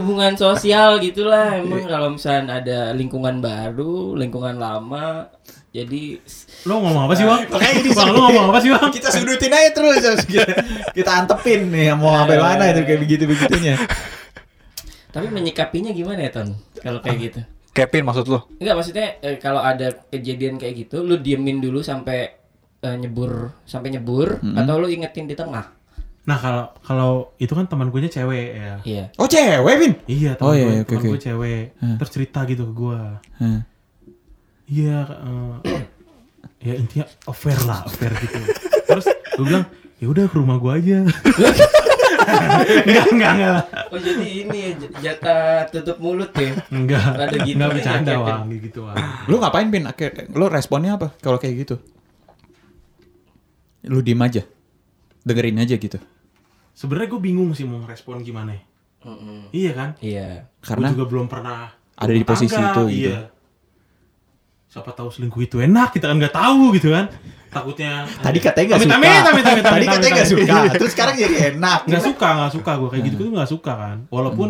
E: hubungan sosial gitulah emang
D: Iya.
E: kalau misalnya ada lingkungan baru lingkungan lama jadi
D: Lu ngomong apa sih Wang?
B: Makanya ini
D: Bang, lu
B: sih.
D: ngomong apa sih Wang?
B: kita sudutin aja terus terus kita, kita antepin nih mau sampai mana itu kayak begitu begitunya
E: tapi menyikapinya gimana ya ton kalau
D: Ah.
E: kayak gitu
C: Kevin maksud lu?
E: enggak maksudnya eh, kalau ada kejadian kayak gitu lu diemin dulu sampai eh, nyebur sampai nyebur
D: Mm-hmm.
E: atau lu ingetin di tengah
D: Nah kalau kalau itu kan teman gue cewek ya.
E: iya
B: oh cewek Vin
D: Iya teman
B: Oh, iya,
D: gue,
B: iya, oke,
D: teman
B: oke.
D: gue cewek. Terus cerita gitu ke gue.
B: Hah.
D: Iya. eh, ya intinya affair lah, affair gitu. Terus gue bilang ya udah ke rumah gue aja. enggak enggak enggak lah.
E: oh jadi ini ya j- jatah tutup mulut ya
D: Enggak.
E: Rada gitu
D: enggak
E: aja,
D: bercanda
E: Kevin.
D: wang gitu wang.
B: lu ngapain Vin Akhir- lu responnya apa kalau kayak gitu lu diem aja dengerin aja gitu
D: Sebenarnya gue bingung sih mau respon gimana. Iya kan?
E: iya
B: karena
D: Gua juga belum pernah
B: Ada di
D: rumah
B: posisi itu, gitu.
D: Iya. Siapa tahu selingkuh itu enak, kita kan nggak tahu gitu kan. Takutnya
B: tadi katanya nggak
D: Amit,
B: suka
D: amit, amit, amit,
B: tadi
D: amit,
B: katanya
D: amit,
B: nggak
D: amit.
B: suka terus sekarang jadi enak
D: nggak suka nggak suka gue
E: Hmm.
D: kayak gitu gitu nggak suka kan walaupun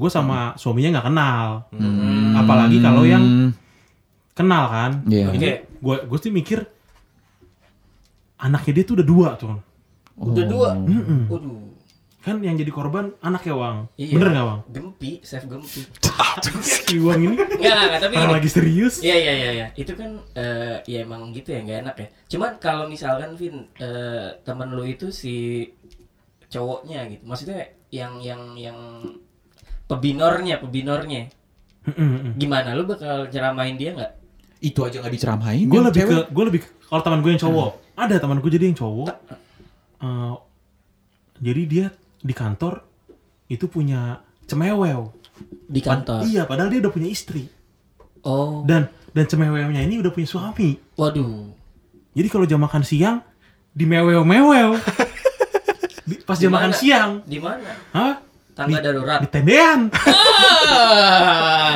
D: gue sama suaminya nggak kenal
E: Hmm.
D: apalagi kalau yang kenal kan
B: Hmm, Iya.
D: ini gue gue sih mikir anaknya dia tuh udah dua tuh
E: udah dua
D: Mm-mm.
E: Waduh.
D: kan yang jadi korban anaknya wang
E: Hmm. Iya.
D: bener nggak wang
E: gempi chef gempi
D: si wang ini
E: Enggak, enggak, tapi
D: orang
E: ini-
D: lagi serius
E: Iya iya iya iya. Itu kan eh, ya emang gitu ya nggak enak ya. Cuman kalau misalkan Vin eh, temen lu itu si cowoknya gitu. Maksudnya yang yang yang pebinornya, pebinornya.
D: Hmm,
E: Gimana lu bakal ceramain dia nggak?
B: itu aja nggak diceramain
D: gue
B: yang
D: lebih ke
B: cewek.
D: gue lebih ke- kalau teman gue yang cowok
E: Hmm.
D: ada teman gue jadi yang cowok Eh, jadi dia di kantor itu punya cemewew
E: Di kantor.
D: Iya, padahal dia udah punya istri.
E: Oh.
D: Dan dan cemewewnya ini udah punya suami.
E: Waduh.
D: Jadi kalau jam makan siang di mewew-mewew. Di- pas jam
E: Di
D: makan
E: mana?
D: siang.
E: Di mana?
D: Hah?
E: Tangga
D: Di-
E: darurat.
D: Di tendean.
E: Ah.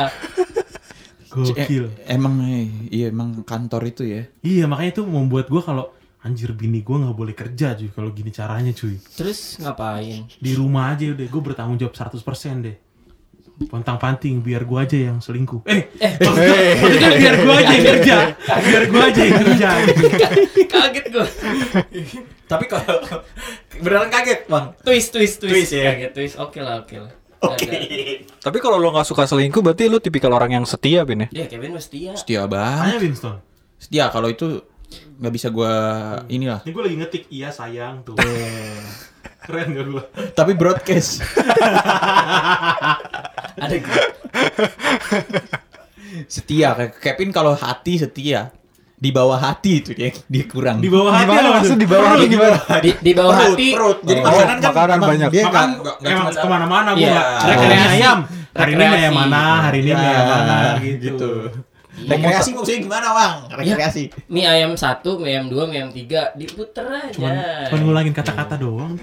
B: Eh,
D: Gokil.
B: emang eh, iya emang kantor itu ya
D: Iya, makanya itu membuat gua kalau anjir bini gua nggak boleh kerja cuy kalau gini caranya cuy.
E: Terus ngapain?
D: Di rumah aja udah gua bertanggung jawab 100% deh. Pontang-panting biar gua aja yang selingkuh. Eh, eh, maksudnya biar gua aja yang kerja. Biar gua aja yang kerja. gitu.
E: Kaget gue.
B: tapi kalau beneran kaget bang
E: Twist twist twist.
B: Twist, ya?
E: Kaget twist. Oke lah oke lah. Ada-
C: Tapi kalau lu nggak suka selingkuh berarti lu tipikal orang yang setia, Bin ya?
E: Ya Kevin mesti ya.
B: setia banget
D: Tanya Winston.
B: setia kalau itu nggak bisa gua inilah
D: Ini gue lagi ngetik iya sayang tuh. Keren gak gue?
B: tapi broadcast
E: Ada gua.
B: setia Kayak Kevin kalau hati setia di bawah hati itu dia dia kurang
D: Di bawah hati apa
C: maksud di
D: tuh?
C: bawah hati gimana?
E: di, di bawah
B: Perut,
E: hati
B: perut. jadi
C: Oh,
B: makanan kan
C: makanan
B: emang
C: banyak.
B: dia
D: Makan
B: nggak- nggak- nggak
D: emang
B: cuma-
D: kemana-mana gue
E: Iya.
D: Rekreasi
E: Rekreasi.
D: ayam Hari ini ayam
E: Rekreasi.
D: mana, hari ini
B: Ya,
D: ayam mana gitu.
B: gitu. Iya. Rekreasi maksudnya gimana bang? Rekreasi.
E: mie ayam satu mie ayam dua mie ayam tiga diputer aja Iya,
D: Cuman, cuman ngulangin kata-kata doang.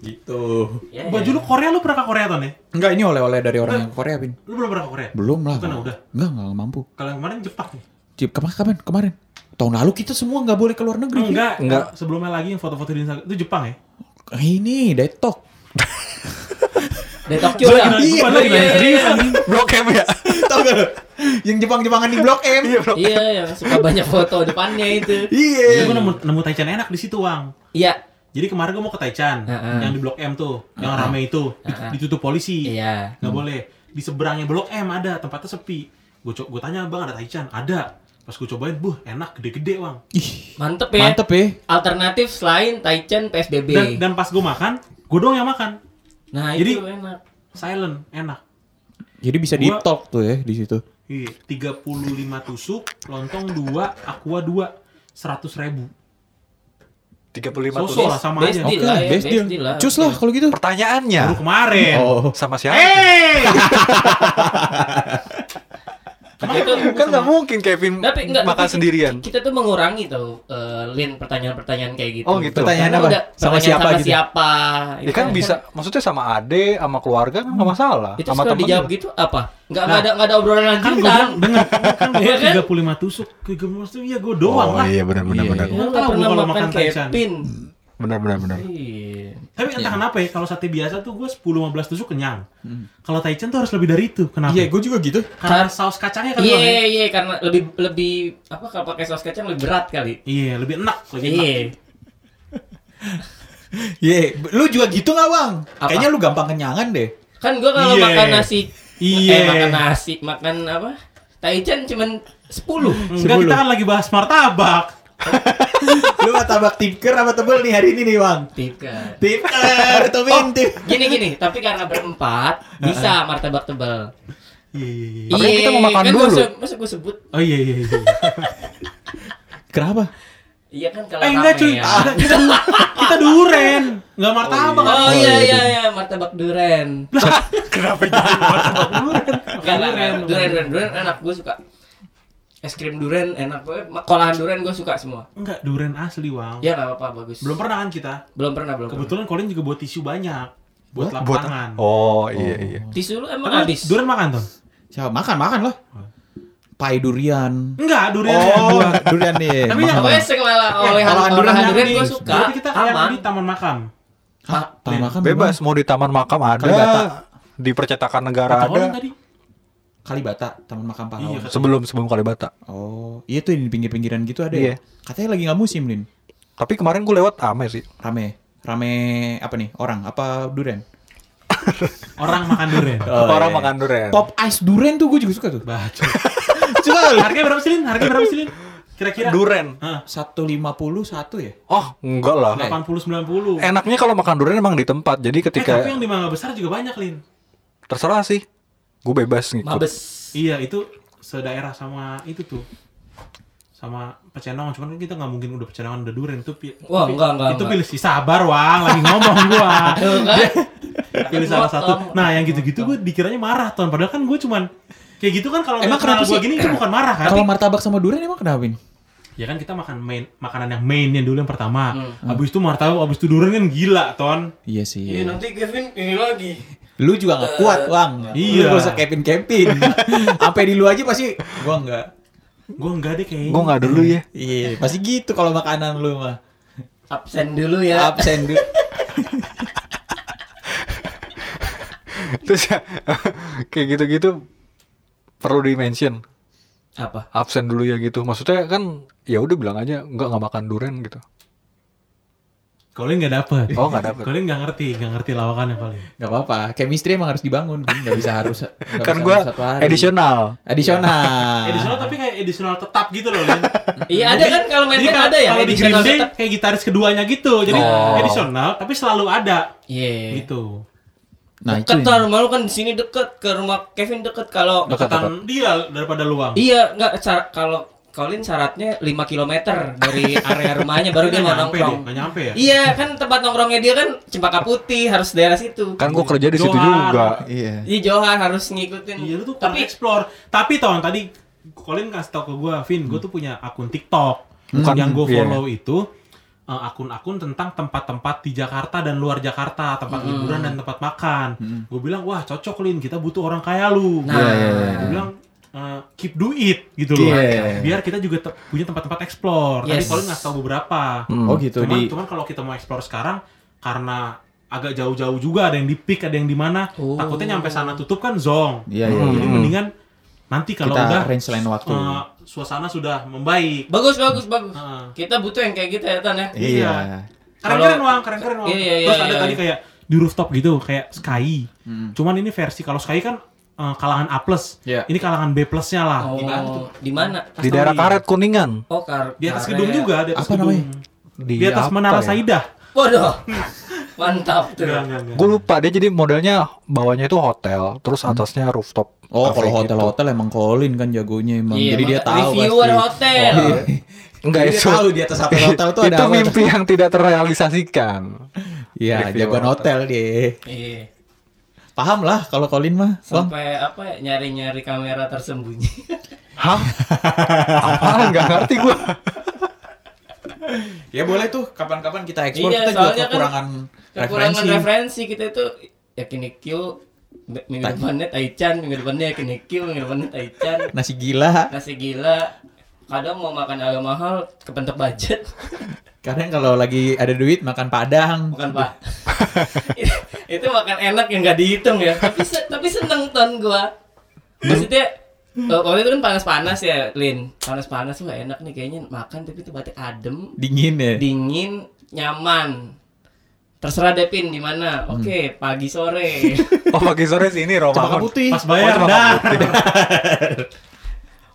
B: Gitu.
E: Ya, ya.
D: Baju lu Korea lu pernah ke Korea ton ya?
B: Enggak ini oleh-oleh dari orang yang Korea pin.
D: Lu belum pernah ke Korea?
B: Belum lah.
D: Bukan
B: Bang.
D: udah.
B: Enggak enggak mampu.
D: Kalau yang kemarin Jepang ya? nih.
B: Cip kemarin kapan? Kemarin. Tahun lalu kita semua Oh, nggak boleh keluar negeri. Pin.
D: Enggak,
C: Enggak.
D: enggak. Sebelumnya lagi yang foto-foto di Instagram itu Jepang ya.
B: Ini detok.
E: dari Tokyo
D: Gua
E: lah
D: lagi- gua lagi
E: Iya,
D: nanya
E: iya,
D: serius,
E: iya.
D: anjing.
C: Blok M ya.
B: Tahu gak lu? Yang Jepang-Jepangan di Blok M.
C: Iya, Blok.
E: iya yang suka banyak foto depannya itu
D: Jadi
B: Iya.
D: gue nemu, nemu Taichan enak di situ, Wang.
E: iya
D: Jadi kemarin gue mau ke Taichan,
E: Heeh.
D: yang di Blok M tuh, yang
E: Heeh.
D: rame itu, di-
E: Heeh.
D: ditutup polisi.
E: iya
D: nggak boleh di seberangnya blok M ada tempatnya sepi gue co- gue tanya bang ada taichan ada pas gue cobain buh enak gede-gede bang
B: Ih,
E: mantep ya
B: mantep ya.
E: alternatif selain Taichan PSBB
D: dan dan pas gue makan gue doang yang makan
E: nah
D: jadi-
E: itu enak
D: silent enak
B: Jadi bisa di
D: Gua-
B: talk tuh ya di situ.
D: tiga puluh lima tusuk lontong dua aqua dua seratus ribu
C: 35
D: Sosok
C: tulis.
D: lah sama
E: Best
D: aja
E: deal.
B: Oke,
E: lah
B: lah,
E: ya,
B: best
E: best
B: deal.
E: deal lah.
B: Cus lah kalau gitu.
C: Pertanyaannya
D: baru kemarin
B: Oh.
C: sama siapa?
D: hey
E: itu
C: Kan nggak mungkin Kevin
E: tapi enggak
C: makan sendirian.
E: kita tuh mengurangi tuh eh, lin pertanyaan-pertanyaan kayak gitu
C: Oh, gitu.
B: Pertanyaan
E: Karena
B: apa?
E: udah
B: Sama
E: pertanyaan
B: siapa
E: sama
B: gitu?
E: siapa
C: Ya kan bisa, maksudnya sama ade, sama keluarga kan nggak masalah.
E: Iya. itu
C: sama
E: kalau
C: temen
E: dijawab
C: juga.
E: gitu apa nggak
D: Nah.
E: ada nggak ada obrolan
D: kan gue
E: lanjutan
D: bilang dengar kan
E: Iya
D: gue
E: kan?
D: tiga puluh lima tusuk gue maksudnya iya gue doang lah
C: benar benar benar.
E: Lu
D: Tahu
E: nggak pernah
D: gua kalau
E: makan
D: makan Taichan.
E: Kevin
C: Benar benar benar.
E: Iya.
D: tapi entah kenapa ya kalau sate biasa tuh gue sepuluh lima belas tusuk kenyang kalau taichan tuh harus lebih dari itu kenapa
B: Iya, gue juga gitu.
D: karena saus kacangnya kali
E: Iya,
D: Bang, ya?
E: iya, karena lebih lebih apa kalau pakai saus kacang lebih berat kali.
D: Iya, lebih enak, lebih enak.
E: Iya.
B: Iya, lu juga gitu nggak bang?
E: Apa?
B: Kayaknya lu gampang kenyangan deh.
E: Kan gua kalau
D: Iya.
E: makan nasi
D: Iya.
E: eh, makan nasi, makan apa? Taichan cuman 10.
D: Enggak,
B: Sebelum.
D: kita kan lagi bahas martabak.
B: lu martabak tipker apa tebel nih hari ini nih bang?
E: Tiga.
B: Tipker, tuh tip.
E: Gini gini, tapi karena berempat bisa martabak tebal.
D: Iya, iya, iya.
C: Makanya kita mau makan
E: kan gua
C: dulu.
E: se- Masa gua sebut?
D: Oh iya, iya, iya.
B: Kenapa?
E: Iya kan kalau
D: eh, enggak
E: rame
D: cuy.
E: ya.
D: Kita, kita, kita duren. Enggak martabak.
E: Oh iya iya iya martabak duren.
C: Kenapa jadi
D: kan.
E: Enggak lah, duren, duren, duren, duren enak gue suka. Es krim duren enak gue, kolahan duren gue suka semua.
D: Enggak, duren asli, Wang.
E: Ya nggak apa-apa bagus.
D: Belum pernah kan kita?
E: belum pernah belum. pernah.
D: Kebetulan Colin juga buat tisu banyak. Buat
C: buat
D: lapangan.
C: Oh iya iya.
E: Tisu lu emang
D: Tapi
E: Kan habis.
D: Duren makan, Ton?
B: Siapa makan makan lah. Pai durian.
D: Enggak, duren yang
B: Oh,
D: buat.
B: durian nih.
D: Tapi
B: Makan.
D: yang-
E: Pokoknya
D: Eh,
E: segala oleh
B: olahan
E: olahan
B: duren
E: duren,
D: yang
E: duren
D: di-
E: gue suka.
D: Berarti kita kayak
E: aman.
D: di taman makam.
B: Hah, tahan makan
C: Bebas mau di taman makam
B: Kalibata.
C: ada, di percetakan negara
D: Kata Colin
C: ada.
D: tadi.
B: Kalibata, Taman Makam Pahlawan.
D: Iya, kata-
C: Sebelum sebelum Kalibata.
B: Oh, iya tuh yang di pinggir-pinggiran gitu ada ya.
C: Iya.
B: Katanya lagi nggak musim, Lin.
C: Tapi kemarin gue lewat ame sih.
B: Rame. Rame apa nih? Orang apa duren?
D: orang makan duren.
C: Orang
B: iya.
C: makan durian.
B: Pop ice duren tuh gue juga suka tuh.
D: Baca.
B: Suka lu?
D: Harganya berapa sih, Lin? Harganya berapa sih, Lin? Kira-kira.
C: Duren.
D: Hah,
B: 151 satu ya?
C: Oh enggak lah.
D: Nah, 80-90. Eh,
C: Enaknya kalau makan durian emang di tempat. Jadi ketika
D: tapi yang di Mangga Besar juga banyak, Lin.
C: terserah sih. Gue bebas ngikut.
E: Mabes.
D: Iya itu sedaerah sama itu tuh sama pecenongan cuman kan kita nggak mungkin udah pecenongan udah duren itu pi-
E: Wah,
D: pi-
E: enggak, enggak,
D: itu
E: enggak.
D: pilih sih sabar wang lagi ngomong gua
E: Tuh kan?
D: pilih salah satu
E: Potong.
D: nah yang gitu-gitu gua dikiranya marah ton padahal kan gua cuman kayak gitu kan kalau
B: Emang
D: ngeliat kenal
B: kenapa
D: gua
B: sih?
D: gini itu bukan marah kan
B: Kalau martabak sama duren emang kenapa, Win?
D: ya kan kita makan main makanan yang mainnya dulu yang pertama
E: Hmm.
D: habis itu martabak habis itu duren kan gila ton
B: Iya sih.
E: Iya nanti Kevin ini lagi.
B: Lu juga nggak kuat, Wang.
D: Iya.
B: Lu nggak usah kepin-kepin. Sampai di lu aja pasti gua nggak.
D: gua enggak deh kayaknya
C: Gue nggak dulu ya.
B: Iya, pasti gitu kalau makanan lu mah.
E: Absen dulu ya.
B: Absen du-
C: Terus ya, kayak gitu-gitu perlu di mention
E: Apa?
C: absen dulu ya gitu. Maksudnya kan ya udah bilang aja nggak nggak makan durian gitu.
D: Colin nggak dapet
C: Oh nggak dapet.
D: Colin nggak ngerti nggak ngerti lawakannya paling
B: Gak apa-apa, chemistry emang harus dibangun Vin. Gak bisa harus gak
C: kan
B: bisa
C: gue
B: harus satu hari.
C: edisional.
B: Iya. Additional
D: Edisional tapi kayak edisional tetap gitu loh, Lin.
E: Nah. Iya, ada kan kalau main band
D: kalau-
E: ada ya,
D: Kalau di
E: edisional
D: Green Day
E: tetap.
D: kayak gitaris keduanya gitu. Jadi
C: Oh.
D: edisional tapi selalu ada
E: Iya.
D: gitu.
B: Nah itu
E: Deket lah, rumah lu kan di sini deket ke rumah Kevin deket kalau
D: Nah,
C: Dekat,
D: Deketan dia daripada luang.
E: Iya, enggak cara- kalau Colin syaratnya 5 km dari area rumahnya baru dia
D: Nggak
E: mau
D: nyampe deh,
E: nongkrong.
D: nggak nyampe ya?
E: Iya, kan tempat nongkrongnya dia kan Cempaka Putih, harus daerah situ.
C: Kan gua kerja di situ
D: Johar.
C: juga. Iya.
E: Iya, Johan harus ngikutin.
D: Iya lu tuh kurang
E: kan. Tapi
D: explore. Tapi tahun tadi Colin kasih tau ke gue, Vin, gue tuh punya akun TikTok.
C: Bukan-
D: yang gue
C: iya.
D: follow itu eh, akun-akun tentang tempat-tempat di Jakarta dan luar Jakarta, tempat liburan dan tempat makan. Gue bilang, wah cocok Lin, kita butuh orang kaya lu.
E: Nah. Iya, iya, iya.
D: gue bilang eh, keep do it gitu loh.
B: Iya.
D: Biar kita juga te- punya tempat-tempat explore. Tadi
E: Yes.
D: Colin ngasih tau beberapa.
B: Oh gitu
D: cuman,
B: di
D: cuman kalau kita mau explore sekarang karena agak jauh-jauh juga ada yang di peak ada yang di mana
E: Oh.
D: takutnya nyampe sana tutup kan zong
B: Iya, iya,
D: jadi
C: iya.
D: mendingan nanti kalau
B: Kita
D: udah
B: range lain waktu.
D: eh, suasana sudah membaik
E: bagus bagus bagus.
D: Heeh.
E: Kita butuh yang kayak gitu ya Tan ya.
D: Ah. Iya.
B: Iya.
D: keren-keren
E: Kalau-
D: wang keren-keren wang
E: Iya, iya, iya,
D: terus ada
E: iya,
D: tadi
E: iya.
D: kayak di rooftop gitu kayak sky
B: Hmm.
D: cuman ini versi kalau sky kan eh, kalangan A plus
B: Iya.
D: ini kalangan B plusnya lah Gimana tuh?
E: Oh, di mana?
C: Di daerah karet kuningan.
E: Oh, kar
D: di atas
E: karet.
D: gedung juga di atas
B: Apa
D: gedung
B: namanya?
C: Di,
D: di atas
C: apa
D: menara
C: ya?
D: Saidah
E: Waduh. Mantap tuh.
D: Enggak, enggak, enggak.
C: Gue lupa dia jadi modelnya bawahnya itu hotel, terus atasnya rooftop.
B: Oh,
C: Cafe
B: kalau
C: gitu.
B: hotel-hotel emang Colin kan jagonya emang.
E: Iya,
B: Jadi dia
E: maka-
B: tahu
E: reviewer
B: pasti.
E: hotel.
B: Oh, iya.
C: Enggak
B: Jadi dia
C: itu.
B: tahu di atas hotel hotel tuh ada
C: itu
B: apa.
C: mimpi yang tidak terrealisasikan.
B: Iya,
C: Reviewer
B: jagoan hotel dia.
E: Iya.
B: Paham lah kalau Colin mah. Bang.
E: Sampai apa ya, nyari-nyari kamera tersembunyi.
C: Hah? Apaan? Gak ngerti gue.
B: Ya boleh tuh kapan-kapan kita ekspor
E: Iya,
B: kita juga
E: soalnya kan
B: kekurangan
E: kekurangan
B: referensi.
E: referensi kita itu ya yakin IQ be- minggu
B: Tai.
E: depannya Taichan minggu depannya yakin IQ minggu depannya Taichan
B: Nasi gila.
E: nasi gila kadang mau makan agak mahal kepentok budget
B: Kadang kalau lagi ada duit makan padang.
E: bukan pak Itu- itu makan enak yang nggak dihitung ya tapi se- tapi seneng ton gua maksudnya eh, waktu itu kan panas-panas ya Lin panas-panas tuh enak nih kayaknya makan tapi tempatnya adem
B: Dingin ya.
E: dingin nyaman terserah Depin di mana oke pagi sore
C: Oh pagi sore sini
B: Cempaka
C: Romangun.
B: putih.
D: pas bayar
C: Oh, cuma
D: dah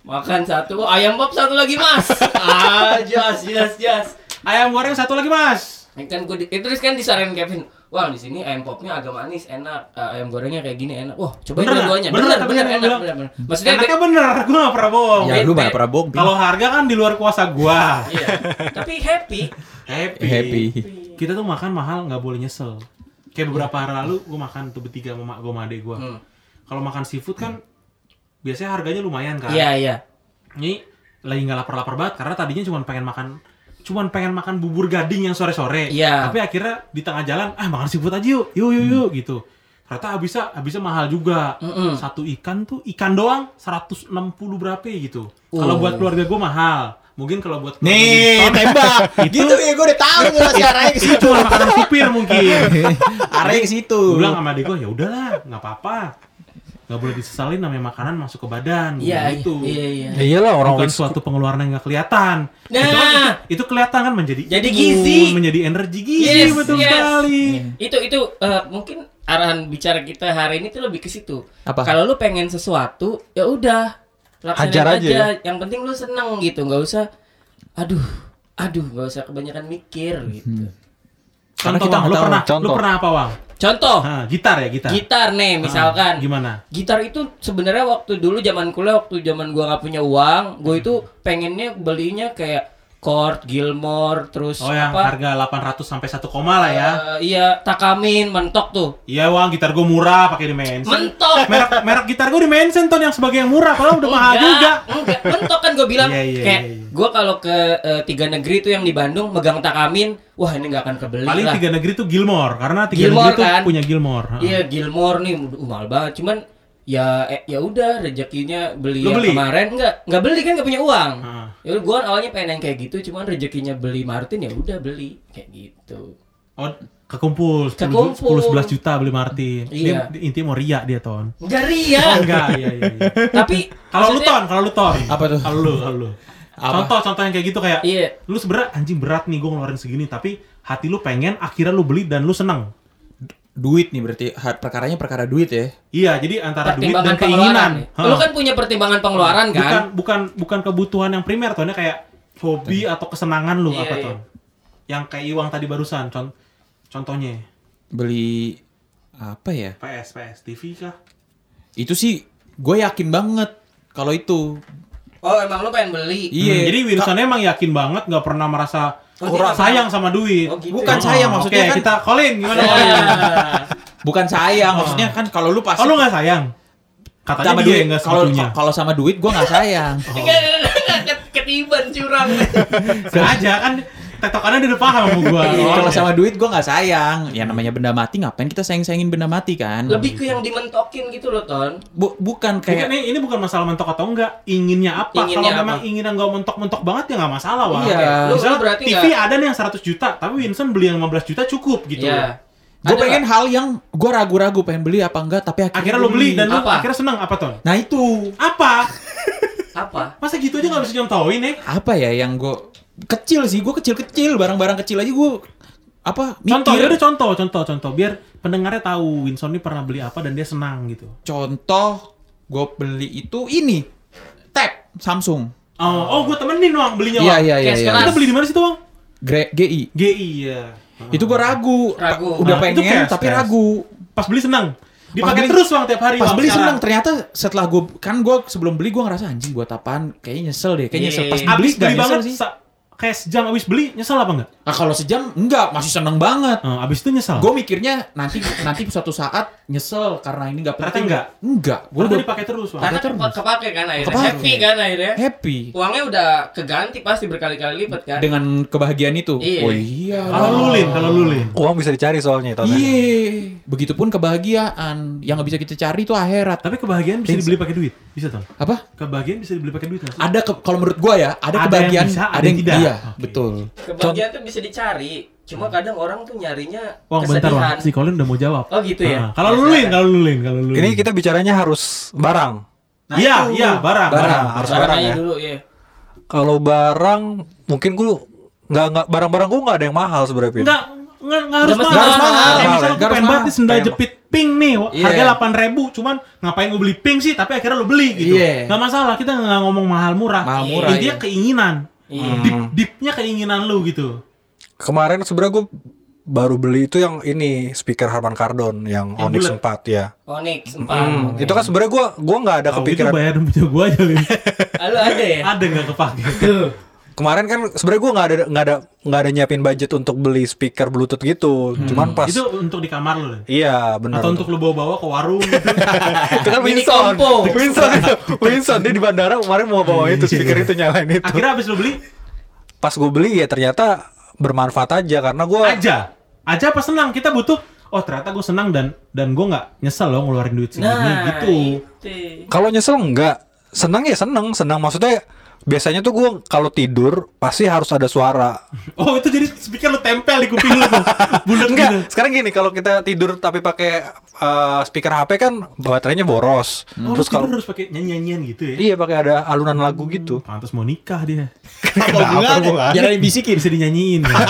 E: Makan satu, oh, ayam pop satu lagi mas. ah, jas, jas, jas.
D: ayam goreng satu lagi mas
E: Ini Kan gue, itu terus kan disarankan Kevin. Wah di sini ayam popnya agak manis, enak. Eh, ayam gorengnya kayak gini enak. Wah coba
D: Bener nggak?
E: dua-duanya.
D: Bener
E: Bener,
D: tapi
E: bener,
D: yang
E: enak,
D: bilang-
E: bener, bener. Maksudnya Iya.
D: Enaknya bener, gue gak pernah bohong.
B: Ya lu
E: Bete.
B: mana pernah bohong. Pi.
D: Kalau harga kan di luar kuasa gua.
E: dia- iya. tapi happy.
D: Happy.
B: Happy.
D: Kita tuh makan mahal nggak boleh nyesel. Kayak beberapa hari lalu gue makan tuh bertiga sama mak gue sama adek gue.
E: Hmm.
D: Kalau makan seafood kan biasanya harganya lumayan kan.
E: Iya iya.
D: Ini lagi nggak lapar-lapar banget karena tadinya cuma pengen makan cuman pengen makan bubur gading yang sore-sore.
E: Iya. Hmm.
D: Tapi akhirnya di tengah jalan, ah makan seafood aja yuk, yuk yuk yuk gitu. Ternyata habisnya habisnya mahal juga.
E: Mm-mm.
D: Satu ikan tuh ikan doang 160 berapa ya gitu.
E: Oh.
D: Kalau buat keluarga gue mahal. Mungkin kalau buat keluarga Iya.
B: Nih,
D: Winston,
B: tembak. gitu ya gue udah tahu nih pasti arahnya ke
D: itu
B: situ.
D: makanan supir mungkin.
B: arahnya ke situ.
D: Gue bilang sama adik gue, ya udahlah, nggak apa-apa. Nggak boleh disesalin namanya makanan masuk ke badan. Gua
E: Iya
D: bilang
E: iya
D: gitu.
E: iya. iya.
C: Ya iyalah orang
D: Bukan
C: wis-
D: suatu pengeluaran yang nggak kelihatan.
E: Nah.
D: itu, kan menjadi- itu kelihatan kan menjadi
E: Jadi
D: imun,
E: gizi.
D: menjadi energi gizi
E: Yes,
D: Iya,
E: Iya.
D: betul
E: yes.
D: sekali.
E: Iya, Itu itu eh, mungkin arahan bicara kita hari ini tuh lebih ke situ.
B: Apa?
E: Kalau lu pengen sesuatu, ya udah laksanain
C: Hajar aja ya.
E: Yang penting lu seneng gitu, nggak usah. Aduh, aduh, nggak usah kebanyakan mikir
D: Hmm.
E: gitu.
B: Karena
D: Contoh,
B: kita
D: Wang, lu
B: nggak tahu.
D: pernah, lu
C: Contoh.
D: pernah apa, Wang?
E: Contoh,
D: Nah, gitar ya, gitar.
E: gitar nih Oh. misalkan.
D: Ah, gimana?
E: Gitar itu sebenarnya waktu dulu zaman kuliah, waktu zaman gua nggak punya uang,
D: Hmm.
E: gua itu pengennya belinya kayak Chord, Gilmore, terus
D: Oh, yang
E: apa?
D: harga 800 sampai 1 koma lah ya.
E: eh, iya, Takamin, mentok tuh.
D: Iya, Wang, gitar gue murah pakai dimension.
E: Mentok.
D: merek merek gitar gue dimension ton yang sebagai yang murah, kalau udah mahal juga.
E: Enggak, Enggak, mentok kan gue bilang
D: Iya, iya,
E: kayak
D: iya, iya.
E: gue kalau ke eh, tiga negeri itu yang di Bandung megang takamin, wah ini nggak akan kebeli
D: Paling
E: lah.
D: tiga negeri tuh Gilmore karena tiga
E: Gilmore,
D: negeri tuh
E: kan?
D: punya Gilmore. Ha.
E: Iya Gilmore nih, uh, mahal banget. Cuman ya eh, ya udah rezekinya beli
D: Lu
E: yang
D: beli? Ah.
E: kemarin nggak nggak beli kan nggak punya uang.
D: Heeh.
E: Ya gue awalnya pengen yang kayak gitu, cuman rezekinya beli Martin ya udah beli kayak gitu.
D: Oh, kekumpul 10,
E: Kekumpul.
D: 10 11 juta beli Martin.
E: Iya.
D: Dia, dia intinya mau riak dia ton.
E: Nggak ria,
D: Oh, enggak, iya iya. iya.
E: tapi
D: Kalau lu
E: maksudnya-
D: ton, kalau lu ton.
B: Apa tuh?
D: Kalau lu, kalau lu.
B: Apa?
D: Contoh contoh yang kayak gitu kayak
E: Iya.
D: lu sebenernya anjing berat nih gue ngeluarin segini tapi hati lu pengen akhirnya lu beli dan lu seneng.
B: Duit nih berarti ha- perkaranya perkara duit ya.
D: Iya, jadi antara duit
E: pertimbangan
D: dan
E: pengeluaran.
D: keinginan. Ha.
E: Lu kan punya pertimbangan pengeluaran kan?
D: Bukan bukan bukan kebutuhan yang primer Ton. Ini kayak hobi atau kesenangan lu
E: Iya,
D: apa
E: iya.
D: ton? Yang kayak Iwang tadi barusan, con- contohnya
B: Beli apa ya?
D: PS, PS TV kah?
B: Itu sih gue yakin banget kalau itu
E: Oh emang lu pengen beli?
B: Iya.
D: Hmm, Jadi Wilson emang yakin banget nggak pernah merasa
E: Oh,
D: kurang
E: tidak.
D: sayang sama duit.
E: Oh, gitu.
B: Bukan
D: Oh,
B: sayang
D: oke,
B: maksudnya kan iya,
D: kita Colin gimana? Colin?
E: Iya.
B: bukan sayang maksudnya kan kalau lu pas
D: Oh, lu Ah. nggak sayang? Katanya
B: sama
D: dia
B: duit
D: yang nggak
B: kalau
D: sebetulnya.
B: kalau sama duit gua nggak sayang.
E: Enggak, enggak, enggak, ket- ketiban curang.
D: Sengaja kan tetokannya dia udah paham sama gua.
B: Iya,
D: Oh,
B: kalau
D: iya.
B: sama duit gua nggak sayang. Ya namanya benda mati ngapain kita sayang-sayangin benda mati kan?
E: Lebih ke yang dimentokin gitu loh, Ton.
B: Bu- bukan
D: Bukan,
B: kayak
D: ini, ini bukan masalah mentok atau enggak, inginnya apa.
E: Inginnya
D: kalau
E: apa?
D: memang inginnya nggak mentok-mentok banget ya nggak masalah, Wah.
B: Iya.
E: Lu- lu
D: Misalnya
E: berarti
D: TV
E: nggak-
D: ada nih yang 100 juta, tapi Winston beli yang 15 juta cukup gitu.
E: Iya.
B: gue
E: Ada
B: pengen hal yang gue ragu-ragu pengen beli apa enggak tapi akhirnya,
D: Akhirnya
B: gua
D: lo beli dan lo
E: Apa?
D: akhirnya seneng apa ton?
B: nah itu
D: Apa?
E: Apa?
D: Masa gitu aja nggak bisa nyontoin ya?
B: apa ya yang gue kecil sih gue kecil-kecil barang-barang kecil aja gue apa
D: Contoh, ya
B: mikir
D: udah contoh, contoh, contoh. Biar pendengarnya tahu Winston ini pernah beli apa dan dia senang gitu.
B: contoh gue beli itu ini tab Samsung
D: Oh, oh, gue temenin Wang belinya
B: iya
D: Wang.
B: iya iya
E: Cash
B: iya.
E: keras.
D: Kita beli di mana sih tuh Wang?
B: Gre- GI
D: GI ya.
B: itu gue ragu,
E: Ragu.
B: udah
D: Nah, itu
B: pengen
D: cash,
B: tapi
D: cash.
B: ragu
D: Pas beli senang.
B: Pas
D: Dipakai
B: beli-
D: terus Wang tiap hari.
B: pas
D: Wang,
B: beli senang
D: sekarang.
B: ternyata setelah gue kan gue sebelum beli gue ngerasa anjing gue tapaan kayaknya nyesel deh kayaknya nyesel pas
E: Iya.
B: beli
D: Abis
B: gak
D: beli
B: nyesel
D: banget,
B: sih
D: sa- kayak sejam abis beli, nyesel apa enggak?
B: nah, kalau sejam enggak masih seneng banget
D: Eh, abis itu nyesel.
B: Gue mikirnya nanti nanti suatu saat nyesel karena ini nggak penting.
D: Ternyata
B: Enggak. Gue
D: Karena
B: udah
D: dipakai terus Wang.
E: Karena
B: terus.
E: kepa- kepake kan akhirnya.
B: Kepake.
E: Happy kan akhirnya.
B: happy
E: Uangnya udah keganti pasti berkali-kali lipat kan.
B: dengan kebahagiaan itu.
E: Iya.
B: Oh iya.
D: Kalau lulin, kalau lulin.
C: Uang bisa dicari soalnya tahun ini.
B: Iya. Begitupun kebahagiaan yang nggak bisa kita cari itu akhirat.
D: Tapi kebahagiaan bisa dibeli pakai duit. Bisa Ton?
B: Apa?
D: Kebahagiaan bisa dibeli pakai duit nggak sih?
B: Ada ke- kalau menurut gue ya ada,
D: Ada yang
B: kebahagiaan
D: bisa, ada yang tidak.
B: Iya
D: Oke.
B: betul.
E: Kebahagiaan tuh bisa dicari. Cuma kadang orang tuh nyarinya
D: Wang bentar
E: kesedihan.
D: Wang, si Colin udah mau jawab.
E: Oh, gitu ya?
D: Ah, Kalau lulin, kalau lulin, kalau lulin.
C: Ini kita bicaranya harus barang.
D: Iya, iya, barang, barang.
C: Barang, harus barang
E: Caranya
C: ya.
E: dulu ya.
C: Kalau barang mungkin gue nggak nggak barang-barang gue nggak ada yang mahal sebenarnya. Pin.
D: Enggak, enggak enggak harus
E: Nggak
D: mahal.
E: mesti
D: Enggak harus
E: mahal.
D: mahal. Kayak
C: Mahal,
D: misalnya
B: nggak
D: gue
B: harus
D: pengen banget
B: mahal.
D: nih sendal
B: Pengen.
D: jepit pink nih, wah,
B: Iya.
D: harga 8.000, cuman ngapain gue beli pink sih, tapi akhirnya lo beli gitu.
B: Iya.
D: Enggak masalah, kita nggak ngomong mahal murah.
B: Mahal
D: Iya.
B: murah,
D: Intinya
B: iya.
D: keinginan.
E: Iya.
D: Deep, deepnya keinginan lu gitu.
C: Kemarin sebenarnya gue baru beli itu yang ini speaker Harman Kardon yang
D: Yang
C: Onyx
D: bulat.
C: 4 ya.
E: Onyx
C: Hmm,
E: empat.
C: Itu kan sebenarnya gue gua nggak ada
D: Kalau itu
C: kepikiran.
D: bayar gitu, punya gue aja Lin.
E: Ah, lu ada ya?
D: Ada nggak kepake?
C: Kemarin kan sebenarnya gue nggak ada nggak ada nggak ada nyiapin budget untuk beli speaker Bluetooth gitu. Cuman pas
D: Hmm. Itu untuk di kamar lu. Lin.
C: Iya benar.
D: Atau untuk lu bawa-bawa ke warung gitu.
C: itu kan
E: Mini
C: Winston.
E: kompo.
C: Winston itu. Winston dia di bandara kemarin mau bawa itu speaker itu nyalain itu.
D: Akhirnya habis lu beli
C: Pas gue beli ya ternyata bermanfaat aja karena gue
D: aja. Aja apa senang? Kita butuh Oh ternyata gue senang dan dan gue nggak nyesel loh ngeluarin duit segini
E: Nah,
D: gitu.
E: itu.
C: kalau nyesel enggak senang ya senang senang maksudnya biasanya tuh gue kalau tidur pasti harus ada suara
D: Oh itu jadi speaker lu tempel di kuping lu tuh. Bulat gitu.
C: enggak sekarang gini kalau kita tidur tapi pakai eh, speaker HP kan baterainya Hmm. boros
D: Oh,
C: terus
D: Terus
C: kalau
D: harus pakai nyanyian gitu ya.
C: iya pakai ada alunan lagu gitu
D: Pantas mau nikah dia.
C: kenapa
B: Jangan ada yang bisikin.
D: Bisa dinyanyiin. ya.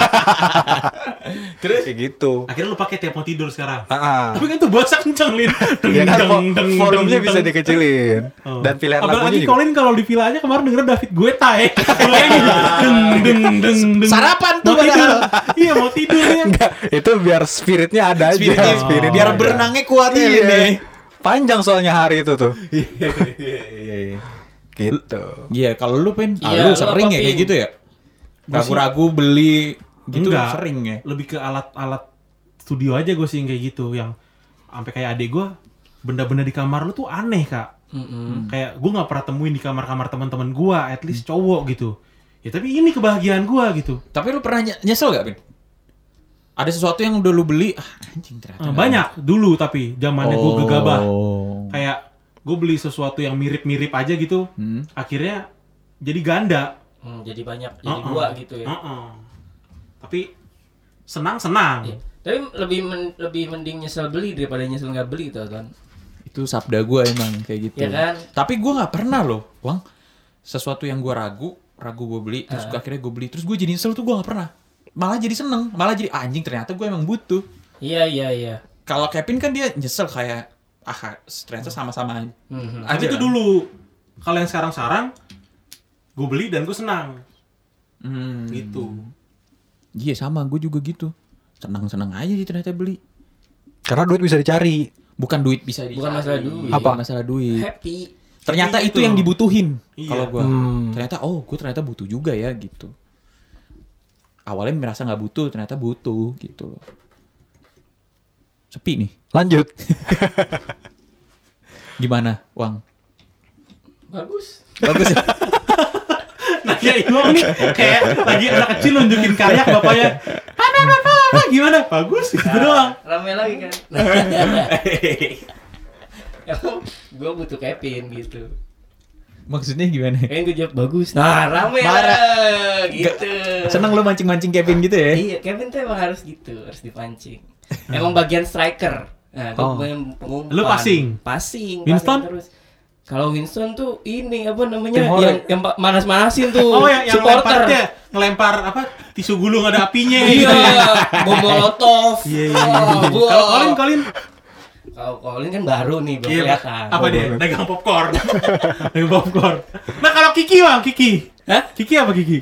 C: terus kayak gitu
D: Akhirnya lu pakai tiap mau tidur sekarang.
C: Ah, ah.
D: Tapi kan tuh bahasa kenceng, Lin. Deng,
C: Ya kan
D: deng,
C: vo-
D: deng,
C: volumenya
D: deng,
C: bisa
D: deng.
C: dikecilin
D: Oh.
C: dan pilihan
D: Apalagi
C: lagunya juga.
D: Colin kalau di villa aja kemarin denger David Guetta ya. Bayangin, deng, deng, deng, deng.
B: Sarapan tuh
D: Mau tidur.
B: padahal.
D: Iya mau tidur ya.
C: Enggak, itu biar spiritnya ada aja.
B: Spiritnya,
C: Spiritnya
B: biar
C: ada.
B: berenangnya kuat ya
C: Iya.
B: ini.
C: Panjang soalnya hari itu tuh. gitu.
B: Iya kalau lu pengen, ah,
E: Iya,
B: lu
E: lu
B: sering
E: apa,
B: ya kayak
E: Pin?
B: gitu ya.
D: Gua sih-
B: Ragu-ragu beli gitu
D: Enggak.
B: sering ya.
D: lebih ke alat-alat studio aja gue sih yang kayak gitu yang sampai kayak adik gue benda-benda di kamar lu tuh aneh kak kayak gue nggak pernah temuin di kamar-kamar teman-teman gue at least cowok gitu ya tapi ini kebahagiaan gue gitu
B: Tapi lu pernah nye- nyesel gak, Bin? Ada sesuatu yang udah lu beli, ah anjing ternyata.
D: Eh, banyak dulu tapi zamannya gue gegabah
B: Oh.
D: kayak gue beli sesuatu yang mirip-mirip aja gitu
B: Hmm.
D: akhirnya jadi ganda
E: Hmm, jadi banyak, jadi
D: Uh-uh.
E: dua gitu ya.
D: Uh-uh. tapi senang senang
E: Iya. Tapi lebih men- lebih mending nyesel beli daripada nyesel nggak beli tuh kan.
B: Itu sabda gue emang kayak gitu.
E: Iya kan?
B: Tapi gue nggak pernah loh, Wang. Sesuatu yang gue ragu, ragu gue beli, terus
E: Ah.
B: gua- akhirnya gue beli, terus gue jadi nyesel tuh gue nggak pernah. Malah jadi seneng, malah jadi "Ah, anjing ternyata gue emang butuh.
E: Iya iya iya.
B: Kalau Kevin kan dia nyesel kayak ah ternyata
E: Hmm.
B: sama-sama aja.
E: Mhm.
D: Tapi itu dulu kalau yang sekarang sarang gue beli dan gue senang
B: Hmm.
D: gitu
B: Iya sama, gue juga gitu. Senang-senang aja sih ternyata beli.
C: Karena duit bisa dicari.
B: Bukan duit bisa
E: Bukan masalah duit.
B: Apa? Masalah duit.
E: Happy.
B: Ternyata
D: Intinya
B: itu
D: gitu.
B: yang dibutuhin
D: Iya.
B: kalau gua.
C: Hmm.
B: Ternyata oh, gue ternyata butuh juga ya gitu. Awalnya merasa nggak butuh, ternyata butuh gitu loh. Sepi nih.
C: Lanjut.
B: Gimana, Wang?
E: Bagus.
B: Bagus. ya?
D: Nah, ya Iwang nih kayak lagi anak kecil nunjukin karya bapaknya. Apa, apa, apa, apa, gimana?
E: Iya.
D: Bagus, gitu doang.
B: Ah.
E: Rame lagi kan. gue butuh Kevin gitu.
B: Maksudnya gimana?
E: Kevin gue jawab bagus. Nah, rame
B: Ah, Marah.
E: lah gitu.
B: Seneng lo mancing-mancing Kevin gitu ya?
E: Iya, Kevin tuh emang harus gitu, harus dipancing. Emang bagian striker. Nah, gue
B: Oh.
E: pengumpan.
D: Lu passing?
E: Passing.
D: Winston?
E: passing terus. Kalau Winston tuh ini apa namanya
C: Tim
E: yang
C: Horek.
E: yang pa- manas-manasin tuh
D: Oh, yang, yang lempar
E: supporter.
D: dia ngelempar apa tisu gulung ada apinya gitu.
E: Iya, bom molotov.
D: Iya, iya, iya.
E: Oh, gua-
D: Kalau Colin, Colin
E: Kalau Colin kan baru nih, belum
D: Iya,
E: kelihatan.
D: apa dia? Dagang popcorn. Dagang popcorn. Nah, kalau Kiki, Bang, Kiki.
E: Hah?
D: Kiki apa Kiki?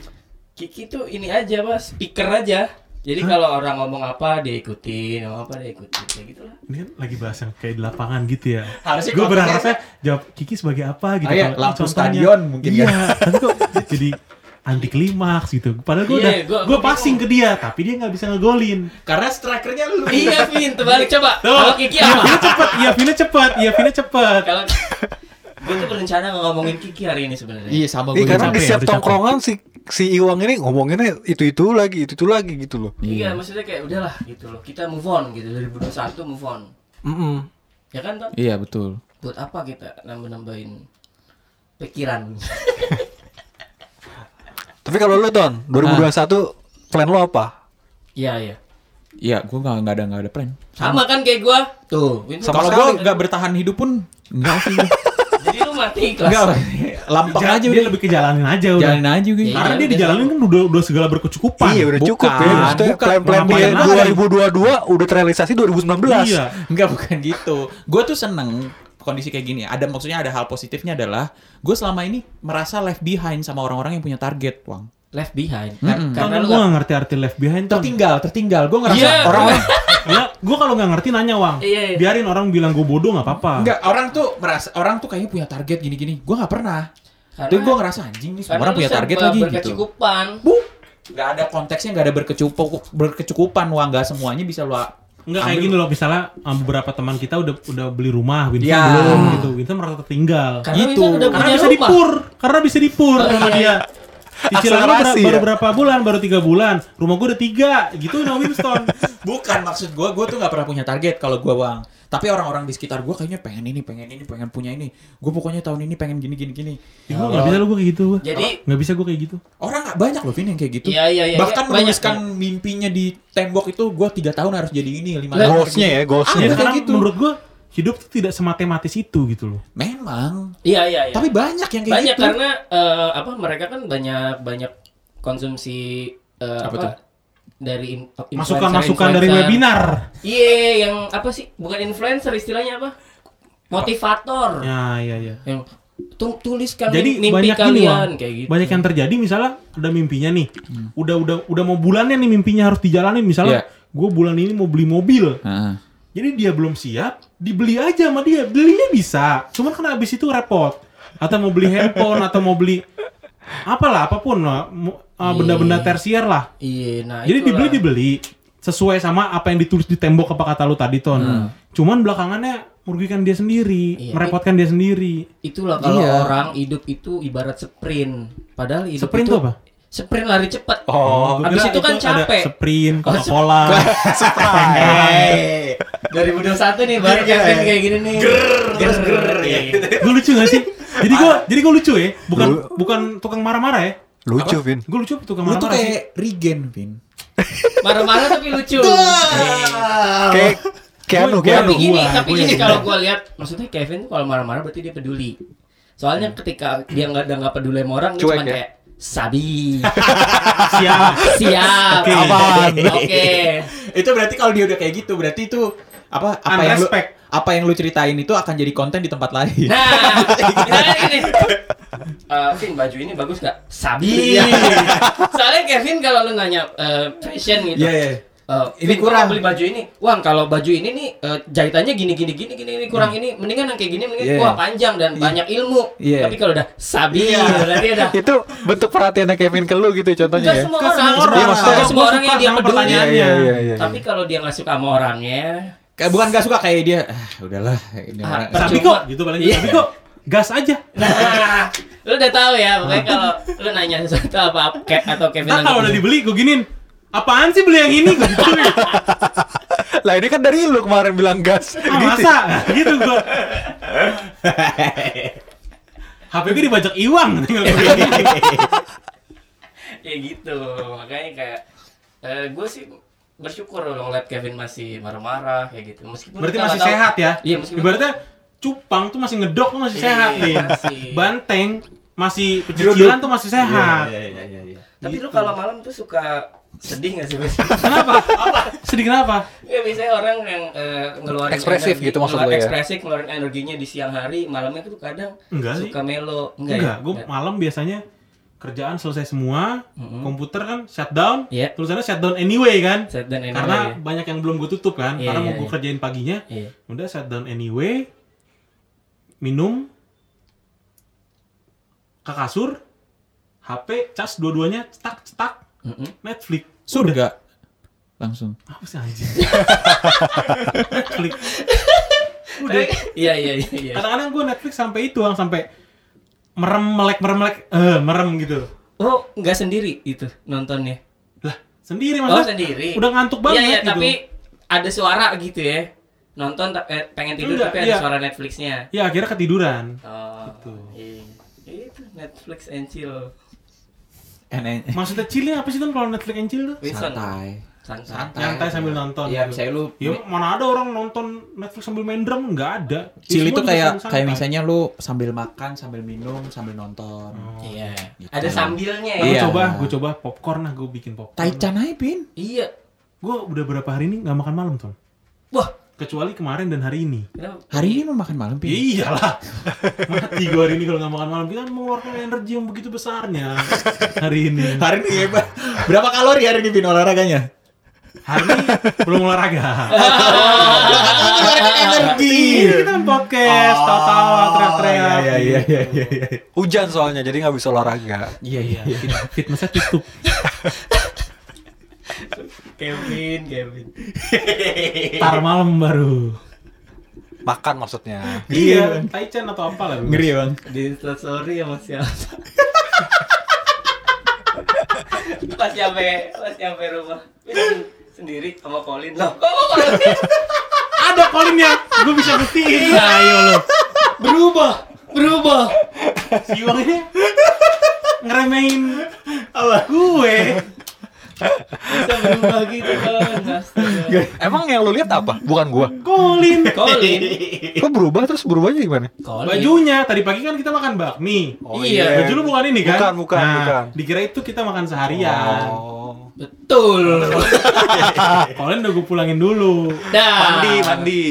E: Kiki tuh ini aja pak, speaker aja. Jadi kalau orang ngomong apa dia ikutin, ngomong apa dia ikutin, kayak gitu lah.
D: Ini kan lagi bahas yang kayak di lapangan gitu ya.
B: Harusnya
D: gue
B: kontennya-
D: berharapnya jawab Kiki sebagai apa gitu.
B: Ah, iya,
D: Kalau ini
B: lampu
D: contohnya.
B: stadion mungkin
D: Iya,
B: kan.
D: tapi kok jadi anti klimaks gitu. Padahal gue
E: Iya,
D: udah
E: gua-
D: gue
E: gua
D: passing ke dia, tapi dia nggak bisa ngegolin.
B: Karena strikernya lu.
E: iya Vin, terbalik coba.
D: Tuh,
E: Kalau Kiki
D: iya, Vina
E: apa?
D: cepet, iya Vina cepet, iya Vina cepet.
E: Kalau gue tuh berencana nggak ngomongin Kiki hari ini sebenarnya.
B: Iya sama
C: Ih,
B: gue.
C: karena
D: capek
C: di
D: ya,
C: setiap
D: udah capek.
C: tongkrongan si si Iwang ini ngomonginnya itu itu lagi itu itu lagi gitu loh.
E: Iya, maksudnya kayak udahlah gitu loh. Kita move on gitu 2021 move on.
C: Mm-mm.
E: Ya kan Ton?
B: Iya betul.
E: Buat apa kita nambah-nambahin pikiran?
C: Tapi kalau lu Don, 2021 plan lu apa?
E: Iya, iya.
B: Iya, gue nggak nggak ada nggak ada plan.
E: Sama kan kayak gua. Tuh, Vin,
B: Kalau
E: sama
B: gue
E: sekali.
B: nggak bertahan hidup pun nggak sih.
E: Jadi lu mati kelas.
B: Nggak, lampang
D: Jalan-
B: aja
D: dia
B: udah.
D: lebih ke jalanin aja udah.
B: Jalanin aja gitu. gue.
E: Iya.
D: Karena dia dijalanin kan udah udah segala berkecukupan.
C: iya udah
B: bukan,
C: cukup ya. Maksudnya
B: bukan.
C: plan-plan dia
D: Ngapain lagi?
C: 2022 udah terrealisasi 2019.
D: Iya.
B: Enggak bukan gitu. Gue tuh seneng kondisi kayak gini. Ada maksudnya ada hal positifnya adalah gue selama ini merasa left behind sama orang-orang yang punya target, Wang.
E: Left behind.
B: Mm-mm.
E: Karena lu
D: gue
E: nggak-
D: gak ngerti arti left behind tuh.
B: Tertinggal, tertinggal. Gue ngerasa
E: Iya.
B: orang-orang
D: Ya, gue kalau nggak ngerti nanya Wang.
E: Iya, iya.
D: Biarin orang bilang gue bodoh nggak apa-apa.
B: enggak orang tuh merasa orang tuh kayaknya punya target gini-gini. Gue nggak pernah.
E: Karena-
B: Tapi gue ngerasa anjing nih semua orang punya target lagi gitu.
E: Berkecukupan.
B: Bu, nggak ada konteksnya, nggak ada berkecukup berkecukupan, wah nggak semuanya bisa lu
D: Enggak kayak
E: gitu.
B: Ambil.
D: gini loh misalnya um, beberapa teman kita udah udah beli rumah, Winston
B: Ya.
D: belum gitu. Winston merasa tertinggal.
E: Karena
B: Gitu.
E: Winston udah
D: Karena
E: punya
D: bisa
E: rumah.
D: dipur, karena bisa dipur sama dia. Cicilan lu ber-
C: Akselerasi
D: baru
C: ya?
D: berapa bulan? Baru tiga bulan. Rumah gue udah tiga, gitu no Winston.
B: Bukan maksud gue, gue tuh nggak pernah punya target kalau gue bang. Tapi orang-orang di sekitar gue kayaknya pengen ini, pengen ini, pengen punya ini. Gue pokoknya tahun ini pengen gini, gini, gini.
D: Ih, gua nggak bisa lu gue kayak gitu. Gua.
E: Jadi-
D: nggak bisa gue kayak gitu.
B: Orang nggak banyak loh Vin yang kayak gitu.
E: Iya, iya, iya,
B: Bahkan
E: iya, banyak,
B: menuliskan mimpinya di tembok itu gue tiga tahun harus jadi ini, lima
E: Lah,
B: tahun. harus
C: Goalsnya
B: jadi-
C: ya,
D: Ya,
B: Iya,
C: goalsnya.
B: kayak
D: karena
B: gitu.
D: menurut gue hidup tuh tidak sematematis itu gitu loh.
B: Memang.
E: Iya, iya, iya.
B: Tapi banyak yang kayak
E: banyak
B: gitu.
E: karena eh, apa mereka kan banyak banyak konsumsi eh,
B: Apa
E: apa,
B: tuh?
E: dari in- influencer-
D: Masukan-masukan dari
E: influencer.
D: webinar.
E: Iya, yang apa sih? Bukan influencer istilahnya apa? Motivator.
D: Ya, ya, ya.
E: Yang tu- tuliskan
D: Jadi
E: mim- mimpi
D: banyak ini
E: kalian
D: Wang.
E: kayak gitu.
D: Banyak yang terjadi misalnya ada mimpinya nih. Udah udah udah mau bulannya nih mimpinya harus dijalanin
B: Iya.
D: misalnya gue bulan ini mau beli mobil.
B: Heeh.
D: Jadi dia belum siap, dibeli aja sama dia. Belinya bisa. Cuman kan abis itu repot. Atau mau beli handphone atau mau beli apalah apapun lah, mu- uh, benda-benda tersier lah.
E: Iya, nah
D: Jadi
E: itulah.
D: dibeli dibeli sesuai sama apa yang ditulis di tembok apa kata lu tadi Ton. Cuman belakangannya merugikan dia sendiri,
E: Iya.
D: merepotkan dia sendiri.
E: Itulah kalau
B: Iya.
E: orang hidup itu ibarat sprint. Padahal hidup
D: Sprint
E: itu
D: tuh apa?
E: Sprint lari cepat.
C: Oh,
D: Gua
E: Habis
D: kira
E: itu kan capek.
D: Ada sprint, Coca-Cola.
E: Hey, 2021 nih baru Kevin kayak gini nih. Iya. Terus ger.
D: gue lucu gak sih? Jadi gue jadi gue lucu ya, bukan bukan tukang marah-marah ya.
C: Lucu, Vin.
D: Gue lucu apa tukang
B: Lu tuh
D: marah-marah sih.
B: kayak regen Vin.
E: Marah-marah tapi lucu. Eh,
C: Kayak kayak anu, kayak
E: Tapi
C: anu.
E: gini,
D: gua,
E: tapi
D: gua
E: gini
D: yang-
E: kalau gua lihat maksudnya Kevin tuh kalau marah-marah berarti dia peduli. Soalnya ketika dia nggak ada nggak peduli sama orang, dia
C: Cuek
E: cuma
C: ya?
E: kayak sabi.
D: Siap.
E: Siap.
D: Oke.
E: Apaan? Oke.
B: itu berarti kalau dia udah kayak gitu, berarti itu apa apa yang lu,
D: Unrespect.
B: apa yang lu ceritain itu akan jadi konten di tempat lain.
E: Nah, misalnya gini. Eh, Vin, baju ini bagus gak? Sabi. Soalnya Kevin kalau lu nanya eh, fashion gitu,
B: Iya, iya.
E: eh,
B: Ini
E: Vin, gua
B: kurang.
E: mau beli baju ini. Wang, kalau baju ini nih eh, jahitannya gini gini gini gini ini kurang ini. Mendingan yang kayak gini mendingan
B: Iya.
E: wah panjang dan banyak ilmu.
B: Iya.
E: Tapi kalau udah sabi berarti udah
C: itu bentuk perhatiannya Kevin ke lu gitu contohnya
E: Enggak
C: ya.
E: semua
D: Ke
E: orang,
D: Nah. semua orang.
E: Enggak semua,
D: Gua
E: orang
D: suka
E: yang dia
D: sama
E: peduli.
D: pertanyaannya.
C: Iya iya iya.
E: Tapi kalau dia nggak suka sama orangnya,
B: Kayak bukan gak suka kayak dia. Ah, udahlah. Ini
E: Ah,
B: orang-
E: percuma.
D: Sabi kok gitu paling
E: Iya.
D: sabi kok. Gas aja.
E: nah, lu udah tahu ya pokoknya kalau lu nanya sesuatu apa Kev atau Kevin gitu.
D: Ntar
E: yang
D: kalau udah
E: peduli.
D: dibeli gue giniin. Apaan sih beli yang ini? Gua ya. gituin.
C: Lah ini kan dari lu kemarin bilang gas. ya?
D: Ah, masa? Gitu gua. HP gue dibajak iwang tinggal gue gini.
E: ya gitu makanya kayak eh, gue sih bersyukur lo ngeliat Kevin masih marah-marah kayak gitu meskipun
D: Berarti
E: kita
D: masih
E: nggak tahu-
D: sehat ya?
E: iya meskipun
D: Ibaratnya cupang tuh masih ngedok tuh masih
E: Iya,
D: sehat nih.
E: masih.
D: Banteng masih pecicilan tuh masih sehat.
B: Iya, iya, iya, iya.
E: tapi lu
D: gitu.
E: kalau malam tuh suka sedih gak sih Mas?
D: Kenapa? Sedih kenapa?
E: ya biasanya orang yang eh, ngeluarin
C: Ekspresif gitu maksud
E: ngeluarin
C: lu ya?
E: ekspresif ngeluarin energinya di siang hari malamnya tuh kadang
D: Enggak sih.
E: suka melo enggak,
D: Enggak,
E: ya?
D: gue
E: Enggak.
D: malam biasanya kerjaan selesai semua,
E: Mm-mm.
D: komputer kan shutdown,
E: Iya.
D: tulisannya shutdown anyway kan.
E: Set dan energi
D: Karena
E: ya.
D: banyak yang belum gue tutup kan,
E: Iya,
D: karena mau
E: iya,
D: gue
E: iya.
D: kerjain paginya.
E: Iya.
D: Udah shutdown anyway, minum, ke kasur, HP, cas dua-duanya, cetak, cetak,
E: Mm-mm.
D: Netflix.
B: Surga. Langsung.
D: Apa sih anjing? Netflix. Udah.
E: iya iya iya iya.
D: Kadang-kadang gue Netflix sampai itu, Ang, sampai merem melek merem melek eh merem gitu
E: oh enggak sendiri itu nontonnya
D: lah sendiri
E: Oh
D: maksudnya
E: sendiri.
D: udah ngantuk banget
E: Iya, iya,
D: gitu.
E: tapi ada suara gitu ya. Nonton ta- eh, pengen tidur
D: Enggak,
E: tapi ada
D: iya.
E: suara Netflixnya.
D: ya akhirnya ketiduran
E: Oh.
D: Gitu.
E: Iya. Itu Netflix and chill.
B: Enak.
D: maksudnya chillnya apa sih tuh kalau Netflix and chill tuh
E: Winston.
B: Santai.
E: Santai.
B: Santai.
D: nyantai sambil nonton
B: Nah, Iya,
D: gitu.
B: misalnya lu
D: ya mana ada orang nonton Netflix sambil main drum nggak ada Ya,
B: Chill
D: semua
B: itu
D: juga
B: kayak
D: sambil
B: kayak
D: santai.
B: misalnya lu sambil makan, sambil minum, sambil nonton.
E: Iya.
B: Gitu.
E: Ada sambilnya ya.
D: Nah, gua
B: Iya.
D: coba gue coba popcorn lah gue bikin popcorn
B: Taichan aja, Bin.
E: Iya.
D: gue udah berapa hari ini nggak makan malam tuh
E: Wah.
D: kecuali kemarin dan hari ini
E: kenapa?
B: Hari ini lu makan malam,
D: Ya
B: Bin.
D: iyalah mati gue hari ini kalau nggak makan malam kita kan mengeluarkan energi yang begitu besarnya hari ini
B: Iya, Hari ini hebat. Berapa kalori hari ini, Bin, olahraganya?
D: hari ini belum olahraga
B: Ngeluarin energi.
D: Iya, kita kan podcast, tawa-tawa, teriak-teriak.
B: Iya, iya, iya, iya, iya.
C: Hujan soalnya jadi nggak bisa olahraga.
B: Iya, iya.
D: Iya, fit- fitnessnya tutup.
E: Kevin, Kevin.
D: Tar malam baru.
C: Makan maksudnya.
D: Iya, Taichan atau apa lah.
B: Ngeri, ya, Bang.
E: Di Instastory sama siapa? pas nyampe, pas nyampe rumah. Winston sendiri sama Colin. Loh, kok sama Colin?
D: Ada kolinnya, gue bisa buktiin. Ayo lo.
E: Berubah, berubah.
D: Si Iwang ini ngeremehin gue.
E: bisa berubah gitu kan astaga.
C: Emang yang lu lihat apa? Bukan gua.
D: Kolin.
E: Colin
C: Kok berubah terus berubahnya gimana?
E: Colin
D: Bajunya, tadi pagi kan kita makan bakmi.
E: Oh, iya.
D: Baju lu bukan ini kan?
C: Bukan, bukan,
D: Nah,
C: bukan.
D: Dikira itu kita makan seharian.
C: Oh.
E: betul
D: Kolin udah gue pulangin dulu.
E: dah
C: Mandi, mandi.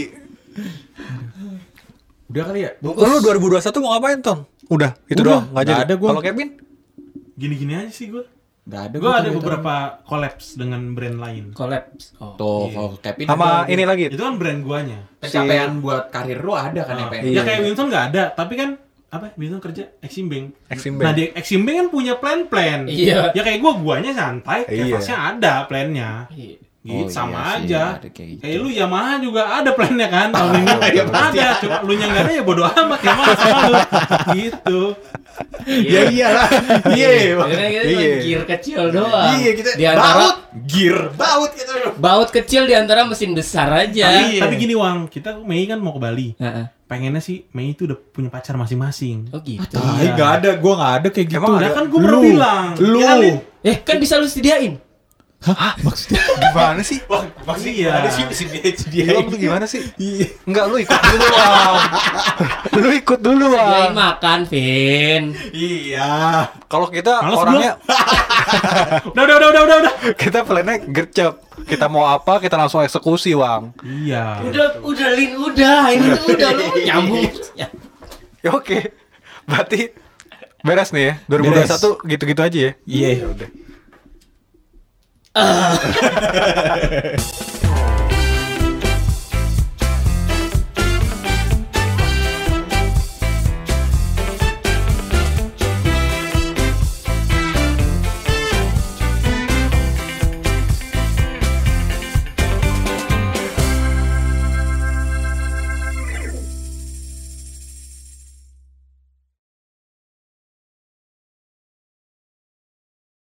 B: Udah kali ya?
E: bungkus
C: Lu 2021 mau ngapain, Ton? Udah, itu
B: Udah,
C: doang. Enggak
B: nggak
C: jadi.
B: ada gua.
C: Kalau Kevin?
D: Gini-gini aja sih gue.
B: Enggak ada.
D: Gue
B: gua
D: ada
B: tuh,
D: beberapa collabs dengan brand lain.
E: collapse oh.
B: Tuh, kalau Kevin
C: Sama ini lagi.
D: Itu kan brand guanya.
E: Iya.
B: pencapaian buat karir lu ada kan ya,
D: Ah,
B: Pen?
D: ya
C: Iya.
D: kayak Wilson nggak ada, tapi kan apa? Wilson kerja Exim Bank.
C: Exim Bank.
D: Nah di Exim Bank kan punya plan-plan.
E: Iya.
D: Ya kayak gua guanya santai,
C: Iya.
D: iya. ada plannya.
E: Iya.
D: Gitu,
B: Oh, iya
D: sama
B: sih,
D: aja.
B: ada kayak gitu.
D: Kayak lu Yamaha juga ada plannya kan tahun ini.
B: Iya, pasti
D: ada, cuma lu yang nggak ada ya bodo amat Yamaha sama lu. gitu.
B: Iya iyalah. Iya. Bang.
E: Akhirnya kita cuma
C: Iya.
E: gear kecil doang
B: Iya, kita
E: di antara
B: baut, gear, baut gitu.
E: baut kecil di antara mesin besar aja
D: Tapi, tapi gini Wang, kita Mei kan mau ke Bali.
E: Heeh.
D: Pengennya sih Mei itu udah punya pacar masing-masing.
E: oh gitu
B: Tai enggak ada, gua enggak Iya. ada kayak gitu.
C: Emang
D: ada? Kan gua
B: Lu,
D: pernah bilang.
B: Lu.
D: Ya, Lin.
E: eh kan bisa lu sediain
B: Hah? Maksudnya
C: Gimana sih?
B: Wah,
D: maksudnya ada sih,
B: si dia
C: Lu tuh gimana sih?
B: Iya.
C: Enggak, lu ikut dulu, Wang. lu ikut dulu,
E: Iya.
D: Iya,
C: Wang.
E: sediain makan Vin
B: Iya.
C: Kalau kita
D: Males
C: orangnya
D: Udah, udah, udah, udah, udah, udah.
C: kita plannya gercep. Kita mau apa, kita langsung eksekusi, Wang.
D: Iya.
E: udah udah Lin udah ini tuh udah lu nyambung
C: Ya oke. Berarti beres nih ya. 2021 gitu-gitu aja ya.
B: Iya.